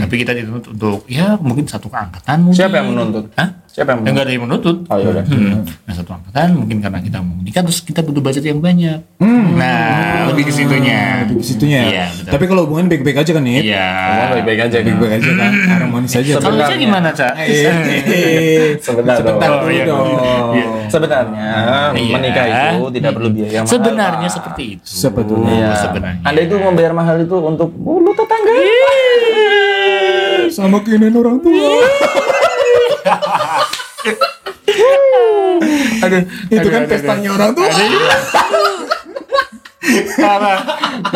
C: Tapi kita dituntut untuk ya mungkin satu keangkatan mungkin.
D: Hmm, Siapa yang menuntut?
C: Hah?
D: Siapa
C: Ya,
D: yang menuntut?
C: Enggak ada yang menuntut.
D: Oh, ya udah.
C: Hmm. Nah satu angkatan mungkin karena kita mau menikah terus kita butuh budget yang banyak. Nah lebih ke situnya.
A: Di situnya. ya.
C: Iya. betul.
A: Tapi kalau hubungan baik-baik aja kan nih.
C: Iya.
D: Semua baik-baik aja kan?
A: baik-baik aja kan harmonis aja
D: Sebenarnya-
A: kan?
C: Kalau saya gimana cak?
A: Eh,
D: Sebentar dong.
A: sebentar dulu
C: iya.
A: dong
C: Iya.
D: Sebenarnya
C: Iya.
D: menikah itu tidak perlu biaya mahal.
C: Sebenarnya
D: Pak.
C: seperti itu.
A: Sebetulnya.
D: Iya.
C: Oh, Sebenarnya. Iya.
D: Anda itu membayar mahal itu untuk bulu tetangga.
A: sama keinginan orang tua
C: Aduh,
A: itu kan pestanya orang tua
C: parah.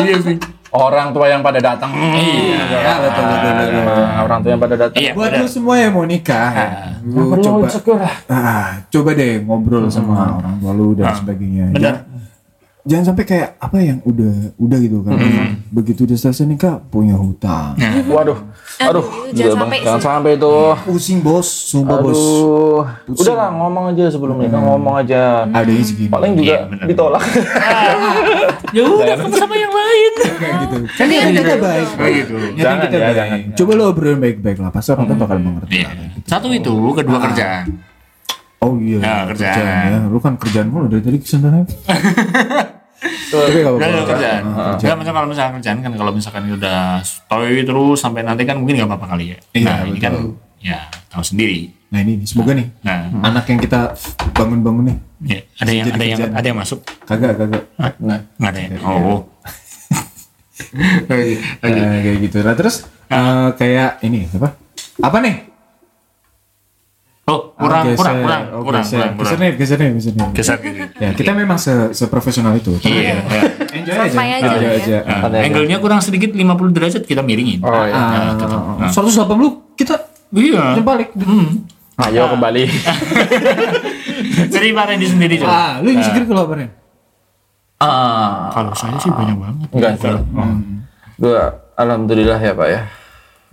C: Iya sih.
D: Orang tua yang pada datang. Iya.
A: Ya, betul, betul, betul.
D: Orang tua yang pada datang.
C: Iya.
A: buat
C: benar.
A: lu semua yang mau nikah ya, lu
D: Perlu
A: coba
D: insecure lah.
A: ah, coba deh ngobrol sama orang tua lu dan sebagainya
C: Benar.
A: Jangan- jangan sampai kayak apa yang udah udah gitu kan begitu udah selesai nikah punya hutang
D: Waduh. Aduh.
B: Aduh, jangan
D: Bang.
B: sampai
D: Jangan
B: sih.
D: sampai itu.
C: Iya.
A: pusing bos sumpah bos
D: Aduh. Udahlah ngomong aja sebelum nikah ngomong aja.
A: adanya segini
D: Paling juga
C: Iya, benar.
D: ditolak.
C: Ya udah kamu sama yang lain.
A: kayak gitu kan niatan kita baik
C: Kayak gitu.
A: Niatan kita
D: ya,
A: baik.
D: jangan.
A: coba lu obrolin baik-baik lah pasti orang tua bakal mengerti
C: Iya. Satu itu, kedua kerjaan.
A: Oh iya,
C: Ya, kerjaan.
A: ya. Lu kan kerjaan mulu dari tadi kesana. Tapi
D: Oh,
A: gak
C: Udah, udah,
A: apa-apa. Ah,
C: kerjaan. Ah. Udah, macam kalau misalkan kerjaan kan kalau misalkan udah stay terus sampai nanti kan mungkin nggak apa-apa kali ya.
A: Iya,
C: nah, ini kan
A: betul.
C: ya tahu sendiri.
A: Nah ini, semoga nih
C: Nah,
A: anak yang kita bangun-bangun nih
C: ya, ada yang
A: Jadi
C: ada yang
A: kerjaan.
C: ada yang masuk?
A: kagak kagak.
D: Nah,
C: Nggak ada ya? Oh. Oke, oke.
A: Nah, kayak gitu. Nah, terus
C: Ah.
A: eh, kayak ini apa? Apa nih?
C: Oh,
A: Ah,
C: kurang,
A: geser.
C: kurang, kurang,
A: Oh,
C: kurang,
A: geser.
C: kurang,
A: Geser
C: kurang.
A: nih, geser nih, geser nih.
D: (laughs)
C: Geser gini.
A: Ya, kita memang se seprofesional itu. Tapi
C: Iya.
A: Enjoy aja.
B: Santai aja
A: Enjoy
B: ya.
A: aja.
C: Nah,
D: Ada- ada.
C: angle-nya kurang sedikit 50 derajat kita miringin.
D: Oh, iya.
C: Nah, tetap.
A: Ah, 180 kita
C: Iya.
A: balik.
D: (laughs) Ayo (laughs) kembali.
C: Jadi Pak Randy sendiri coba.
A: Wah, Ah, lu insecure kalau apa Ren?
D: Ah,
C: Kalau saya sih banyak banget.
D: enggak enggak. Gua alhamdulillah ya Pak ya.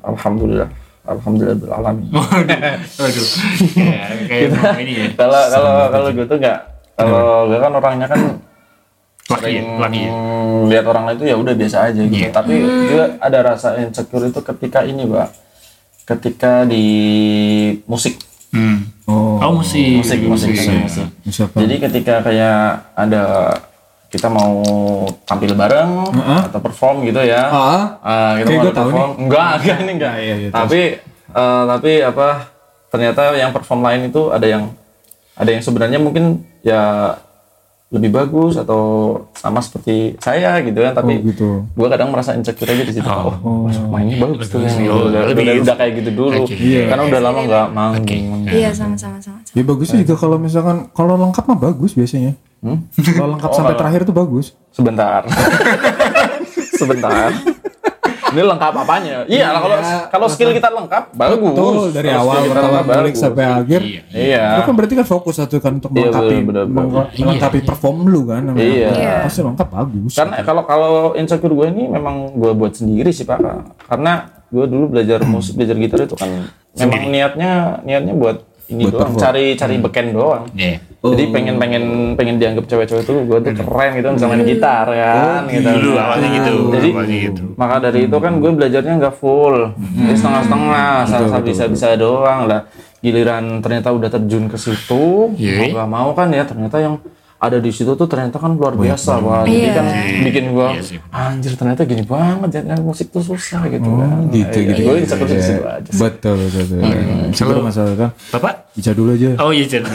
D: Alhamdulillah. Alhamdulillah bil alamin.
C: Waduh, (laughs) waduh. Ya, kayak mau ini ya.
D: (laughs) Kalau kalau kalau gue tuh enggak kalau gue kan orangnya (coughs) kan
C: Laki ya, laki ya.
D: Hmm, lihat orang lain itu ya udah biasa aja
C: Iya.
D: gitu. Tapi juga ada rasa insecure itu ketika ini, Pak. Ketika di musik.
C: Hmm.
A: Oh.
C: Oh, musik.
D: Musik, musik,
C: Iya.
D: musik.
A: Siapa?
D: Jadi ketika kayak ada kita mau tampil bareng atau perform gitu ya.
A: Heeh.
D: Ah, kita
A: Kayak
D: mau
A: gua tahu
D: perform. Enggak, enggak (laughs) ini enggak.
A: Iya, iya, iya,
D: tapi eh, tapi apa ternyata yang perform lain itu ada yang ada yang sebenarnya mungkin ya lebih bagus atau sama seperti saya gitu kan tapi
A: Oh, gitu.
D: gue kadang merasa insecure aja di situ oh, mainnya bagus tuh yang
C: Oh,
D: udah,
C: lebih-
D: udah, udah kayak gitu dulu
C: Oke. Iya.
D: karena udah lama nggak manggung
B: Iya sama-sama sama.
A: Ya bagusnya juga kalau misalkan kalau lengkap mah bagus biasanya.
D: Hmm?
A: Kalau
D: Oh,
A: lengkap sampai terakhir tuh bagus. (laughs)
D: sebentar sebentar ini lengkap apanya iya kalau kalau skill kita lengkap bagus
A: Betul, dari
D: Kalau
A: awal
D: skill kita
A: pertama
D: lengkap,
A: balik
D: bagus.
A: sampai akhir.
C: Iya.
D: iya
A: Lu kan berarti kan fokus satu kan untuk
D: Iya,
A: melengkapi
D: bener, bener, bener.
A: meng- melengkapi perform lu kan. namanya.
D: Iya. Kan-
B: Iya.
A: Pasti lengkap bagus.
D: karena kalau kalau insecure gue ini memang gue buat sendiri sih pak karena gue dulu belajar
A: Hmm.
D: musik belajar gitar itu kan memang niatnya niatnya buat ini
A: Buat
D: doang
A: perform. Hmm.
D: cari cari beken doang
C: Iya.
D: jadi pengen pengen pengen dianggap cewek-cewek itu gue tuh keren gitu bisa main gitar kan gitu
C: Dulu awalnya gitu.
D: Jadi-
C: awalnya gitu.
D: maka dari itu kan gue belajarnya nggak full jadi setengah-setengah asal bisa bisa doang lah giliran ternyata udah terjun ke situ
C: Iya.
D: mau nggak mau kan ya ternyata yang ada di situ tuh ternyata kan luar biasa wah jadi
B: Iya.
D: kan bikin gua
C: Iya sih.
D: anjir ternyata gini banget jadi musik tuh susah gitu
A: Oh,
D: kan
A: gitu gitu.
D: gue
A: gitu.
D: insecure di situ aja sih.
A: Betul betul. betul. Coba masalah kan.
C: Bapak?
A: Ica dulu aja.
C: Oh iya, jadi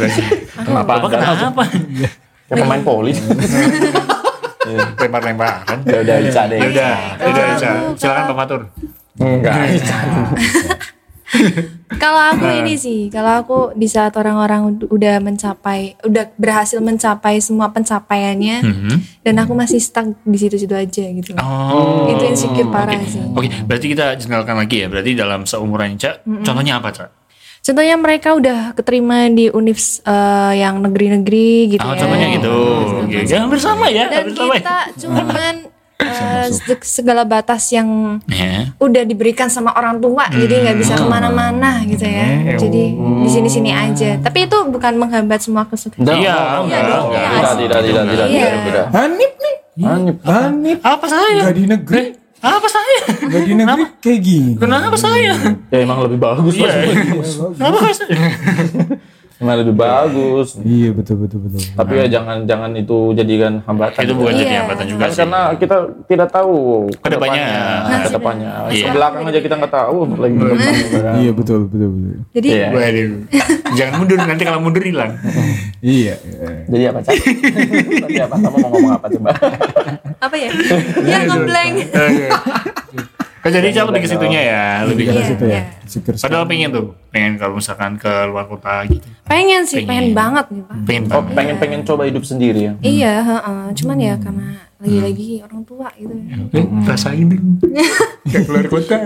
D: kenapa
C: Bapak
D: Anda
C: kenapa?
D: kayak pemain poli
C: Lempar-lemparan.
D: ya udah bisa deh
C: Ya Oh, udah, ya udah, Ica. Silakan Pak Matur.
D: enggak
B: Kalau aku
C: Ah.
B: ini sih, kalau aku di saat orang-orang ud- udah mencapai, udah berhasil mencapai semua pencapaiannya, dan aku masih stuck di situ-situ aja gitu.
C: Hmm. Oh.
B: Itu insecure parah sih.
C: Oke, berarti kita jurnalkan lagi ya. Berarti dalam seumuran Ica, contohnya apa, Cak?
B: Contohnya mereka udah keterima di univ eh, yang negeri-negeri gitu
C: Ah,
B: ya.
C: contohnya gitu. Oke, Jangan bersama
B: Iya.
C: ya,
B: Dan
C: jangan bersama.
B: kita
C: (laughs)
B: cuman eh, se- segala batas yang
C: Ya.
B: udah diberikan sama orang tua jadi nggak bisa
C: Hmm.
B: kemana-mana gitu
C: Eh, oh.
B: ya jadi di sini-sini aja tapi itu bukan menghambat semua kesuksesan
C: Iya, enggak,
B: dong,
C: enggak.
B: iya.
D: Oh, tidak tidak tidak tidak
B: Iya.
D: tidak tidak
A: Hanif nih.
D: Anjir.
A: Hanif.
C: Apa saya?
A: Gak di negeri.
C: Apa saya?
A: Gak di negeri kayak gini.
C: Kenapa saya?
D: ya emang lebih bagus
C: Iya.
D: Mas.
C: Kenapa (laughs) saya?
D: emang lebih bagus
A: Iya betul betul betul.
D: tapi ya jangan jangan itu jadikan hambatan
C: Itu
B: Iya.
C: bukan jadi hambatan juga
D: Kan
C: sih.
D: karena kita tidak tahu
C: Kedepannya.
B: Nasib.
D: kedepannya
C: Iya.
D: ke belakang aja kita nggak tahu gitu lagi ke depan juga.
A: Iya betul betul betul.
B: jadi
D: Iya.
C: Waduh. Jangan mundur nanti kalau mundur hilang.
A: Iya. iya.
D: jadi apa cak tadi apa kamu mau ngomong apa
C: (laughs)
D: coba
B: apa ya ya ngeblank
C: Kan jadi Ica lebih ke situnya ya, lebih ke
B: Iya,
A: Situ
B: iya.
A: ya. Insecure
C: Padahal pengen tuh, pengen kalau misalkan ke luar kota gitu.
B: pengen sih pengen banget nih pak
C: Pengen
D: oh,
C: banget.
D: pengen pengen coba hidup sendiri ya
B: iya heeh. cuman ya karena lagi-lagi
C: Hmm.
B: orang tua gitu ya.
C: Eh, Rasain (laughs) dong. Gak keluar kota.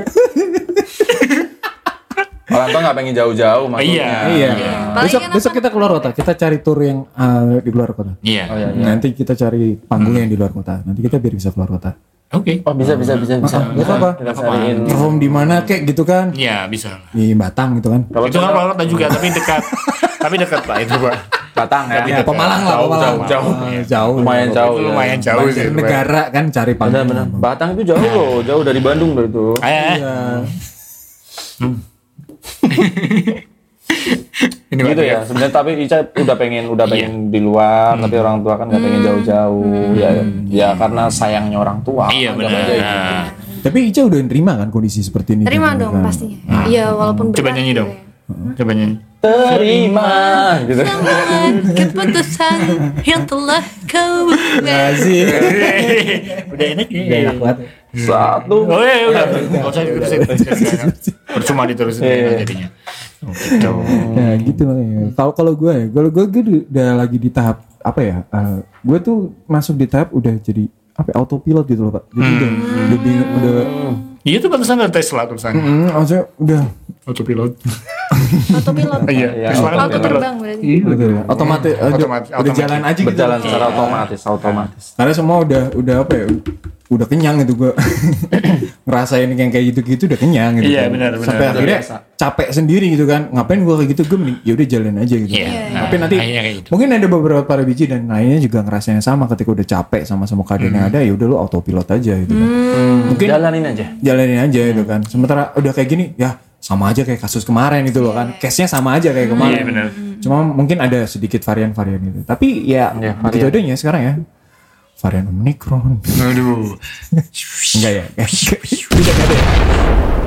D: orang tua nggak pengen jauh-jauh maksudnya
A: Iya.
B: Paling kan-
A: Besok
B: enak
A: besok kita keluar kota. Kita cari tour yang eh, di luar kota.
C: Iya.
D: oh, iya, iya.
A: Nanti kita cari panggung yang di luar kota. Nanti kita biar bisa keluar kota.
C: Oke.
D: oh bisa bisa bisa bisa
A: Gak apa-apa.
D: kita cariin
A: Perform di mana kayak gitu kan?
C: Iya, bisa. lah.
A: Di Batang gitu kan?
D: Kalau
C: itu kan luar kota juga, tapi dekat. tapi dekat Pak itu, Pak.
D: batang ya
A: Ya, Pemalang lah,
D: jauh
A: Pemalang.
D: jauh jauh
A: Eh, jauh.
D: lumayan jauh
C: Itu
D: ya.
C: lumayan jauh sih. itu, Pak.
A: Negara kan cari
D: benar
A: panggung.
D: benar batang itu jauh loh jauh dari Bandung loh itu
C: Eh, eh,
A: Iya.
C: Hmm. (laughs) ini
D: gitu
C: Pak,
D: ya sebenarnya tapi Ica udah pengen
C: Iya.
D: udah pengen di luar tapi
C: Hmm.
D: orang tua kan nggak pengen jauh-jauh ya ya karena sayangnya orang tua
C: Iya
D: Anggap
C: benar.
D: aja gitu.
C: Nah,
A: Tapi Ica udah nerima kan kondisi seperti ini?
B: terima
A: Kan?
B: dong
A: Kan?
B: pastinya iya walaupun
C: Ah. Coba
B: berat
C: nyanyi
B: gitu
C: dong.
B: ya.
C: Coba nyanyi.
D: terima gitu
B: Dengan keputusan yang telah kau buat.
A: Nah, sih.
C: Udah enak ya.
A: Udah enak banget.
D: Satu.
C: Oh iya, udah. Gak usah diterusin. Percuma diterusin
D: Iya.
C: jadinya. Oh, gitu.
A: Nah gitu
C: Hmm.
A: makanya. Kalau kalau gue ya, kalau gue gue du- udah lagi di tahap apa ya? eh, gue tuh masuk di tahap udah jadi apa ya, autopilot gitu loh pak. Jadi
C: Hmm.
A: udah udah bingung udah.
C: Iya tuh batasan dari Tesla tulisannya.
A: Hmm, maksudnya udah
C: Autopilot.
B: Autopilot.
C: Iya, Tesla kan
B: Auto
C: autopilot.
B: terbang berarti.
C: Iya.
A: udah, otomatis, eh, udah,
C: Otomatis-
A: udah
C: otomatis.
A: jalan aja gitu.
D: Berjalan
C: iya.
D: secara otomatis, otomatis.
A: Karena semua udah udah apa ya? Udah kenyang gitu
C: (coughs)
A: gue ngerasain yang kayak gitu-gitu udah kenyang gitu.
C: Iya,
A: kan.
C: benar, benar.
A: Sampai
C: Udah
A: akhirnya
D: biasa.
A: capek sendiri gitu kan. Ngapain gue kayak gitu? Gue mending ya udah jalan aja gitu.
C: Iya.
B: Iya.
A: Tapi nanti
C: akhirnya kayak gitu.
A: Mungkin ada beberapa para biji dan lainnya juga ngerasain yang sama ketika udah capek sama semua keadaan
C: Hmm.
A: yang ada ya udah lu autopilot aja gitu kan. Mungkin
D: Jalanin aja.
A: jalanin aja gitu
D: Iya.
A: kan. Sementara udah kayak gini ya sama aja kayak kasus kemarin gitu loh
D: Iya.
A: kan. Case-nya sama aja
D: Hmm.
A: kayak kemarin.
C: Iya, benar.
A: Cuma mungkin ada sedikit varian-varian gitu. Tapi ya,
D: Iya,
A: begitu
D: varian.
A: adanya sekarang ya.
D: (laughs)
A: Varian Omicron.
C: Aduh.
A: (laughs) Enggak ya. Tidak ada ya.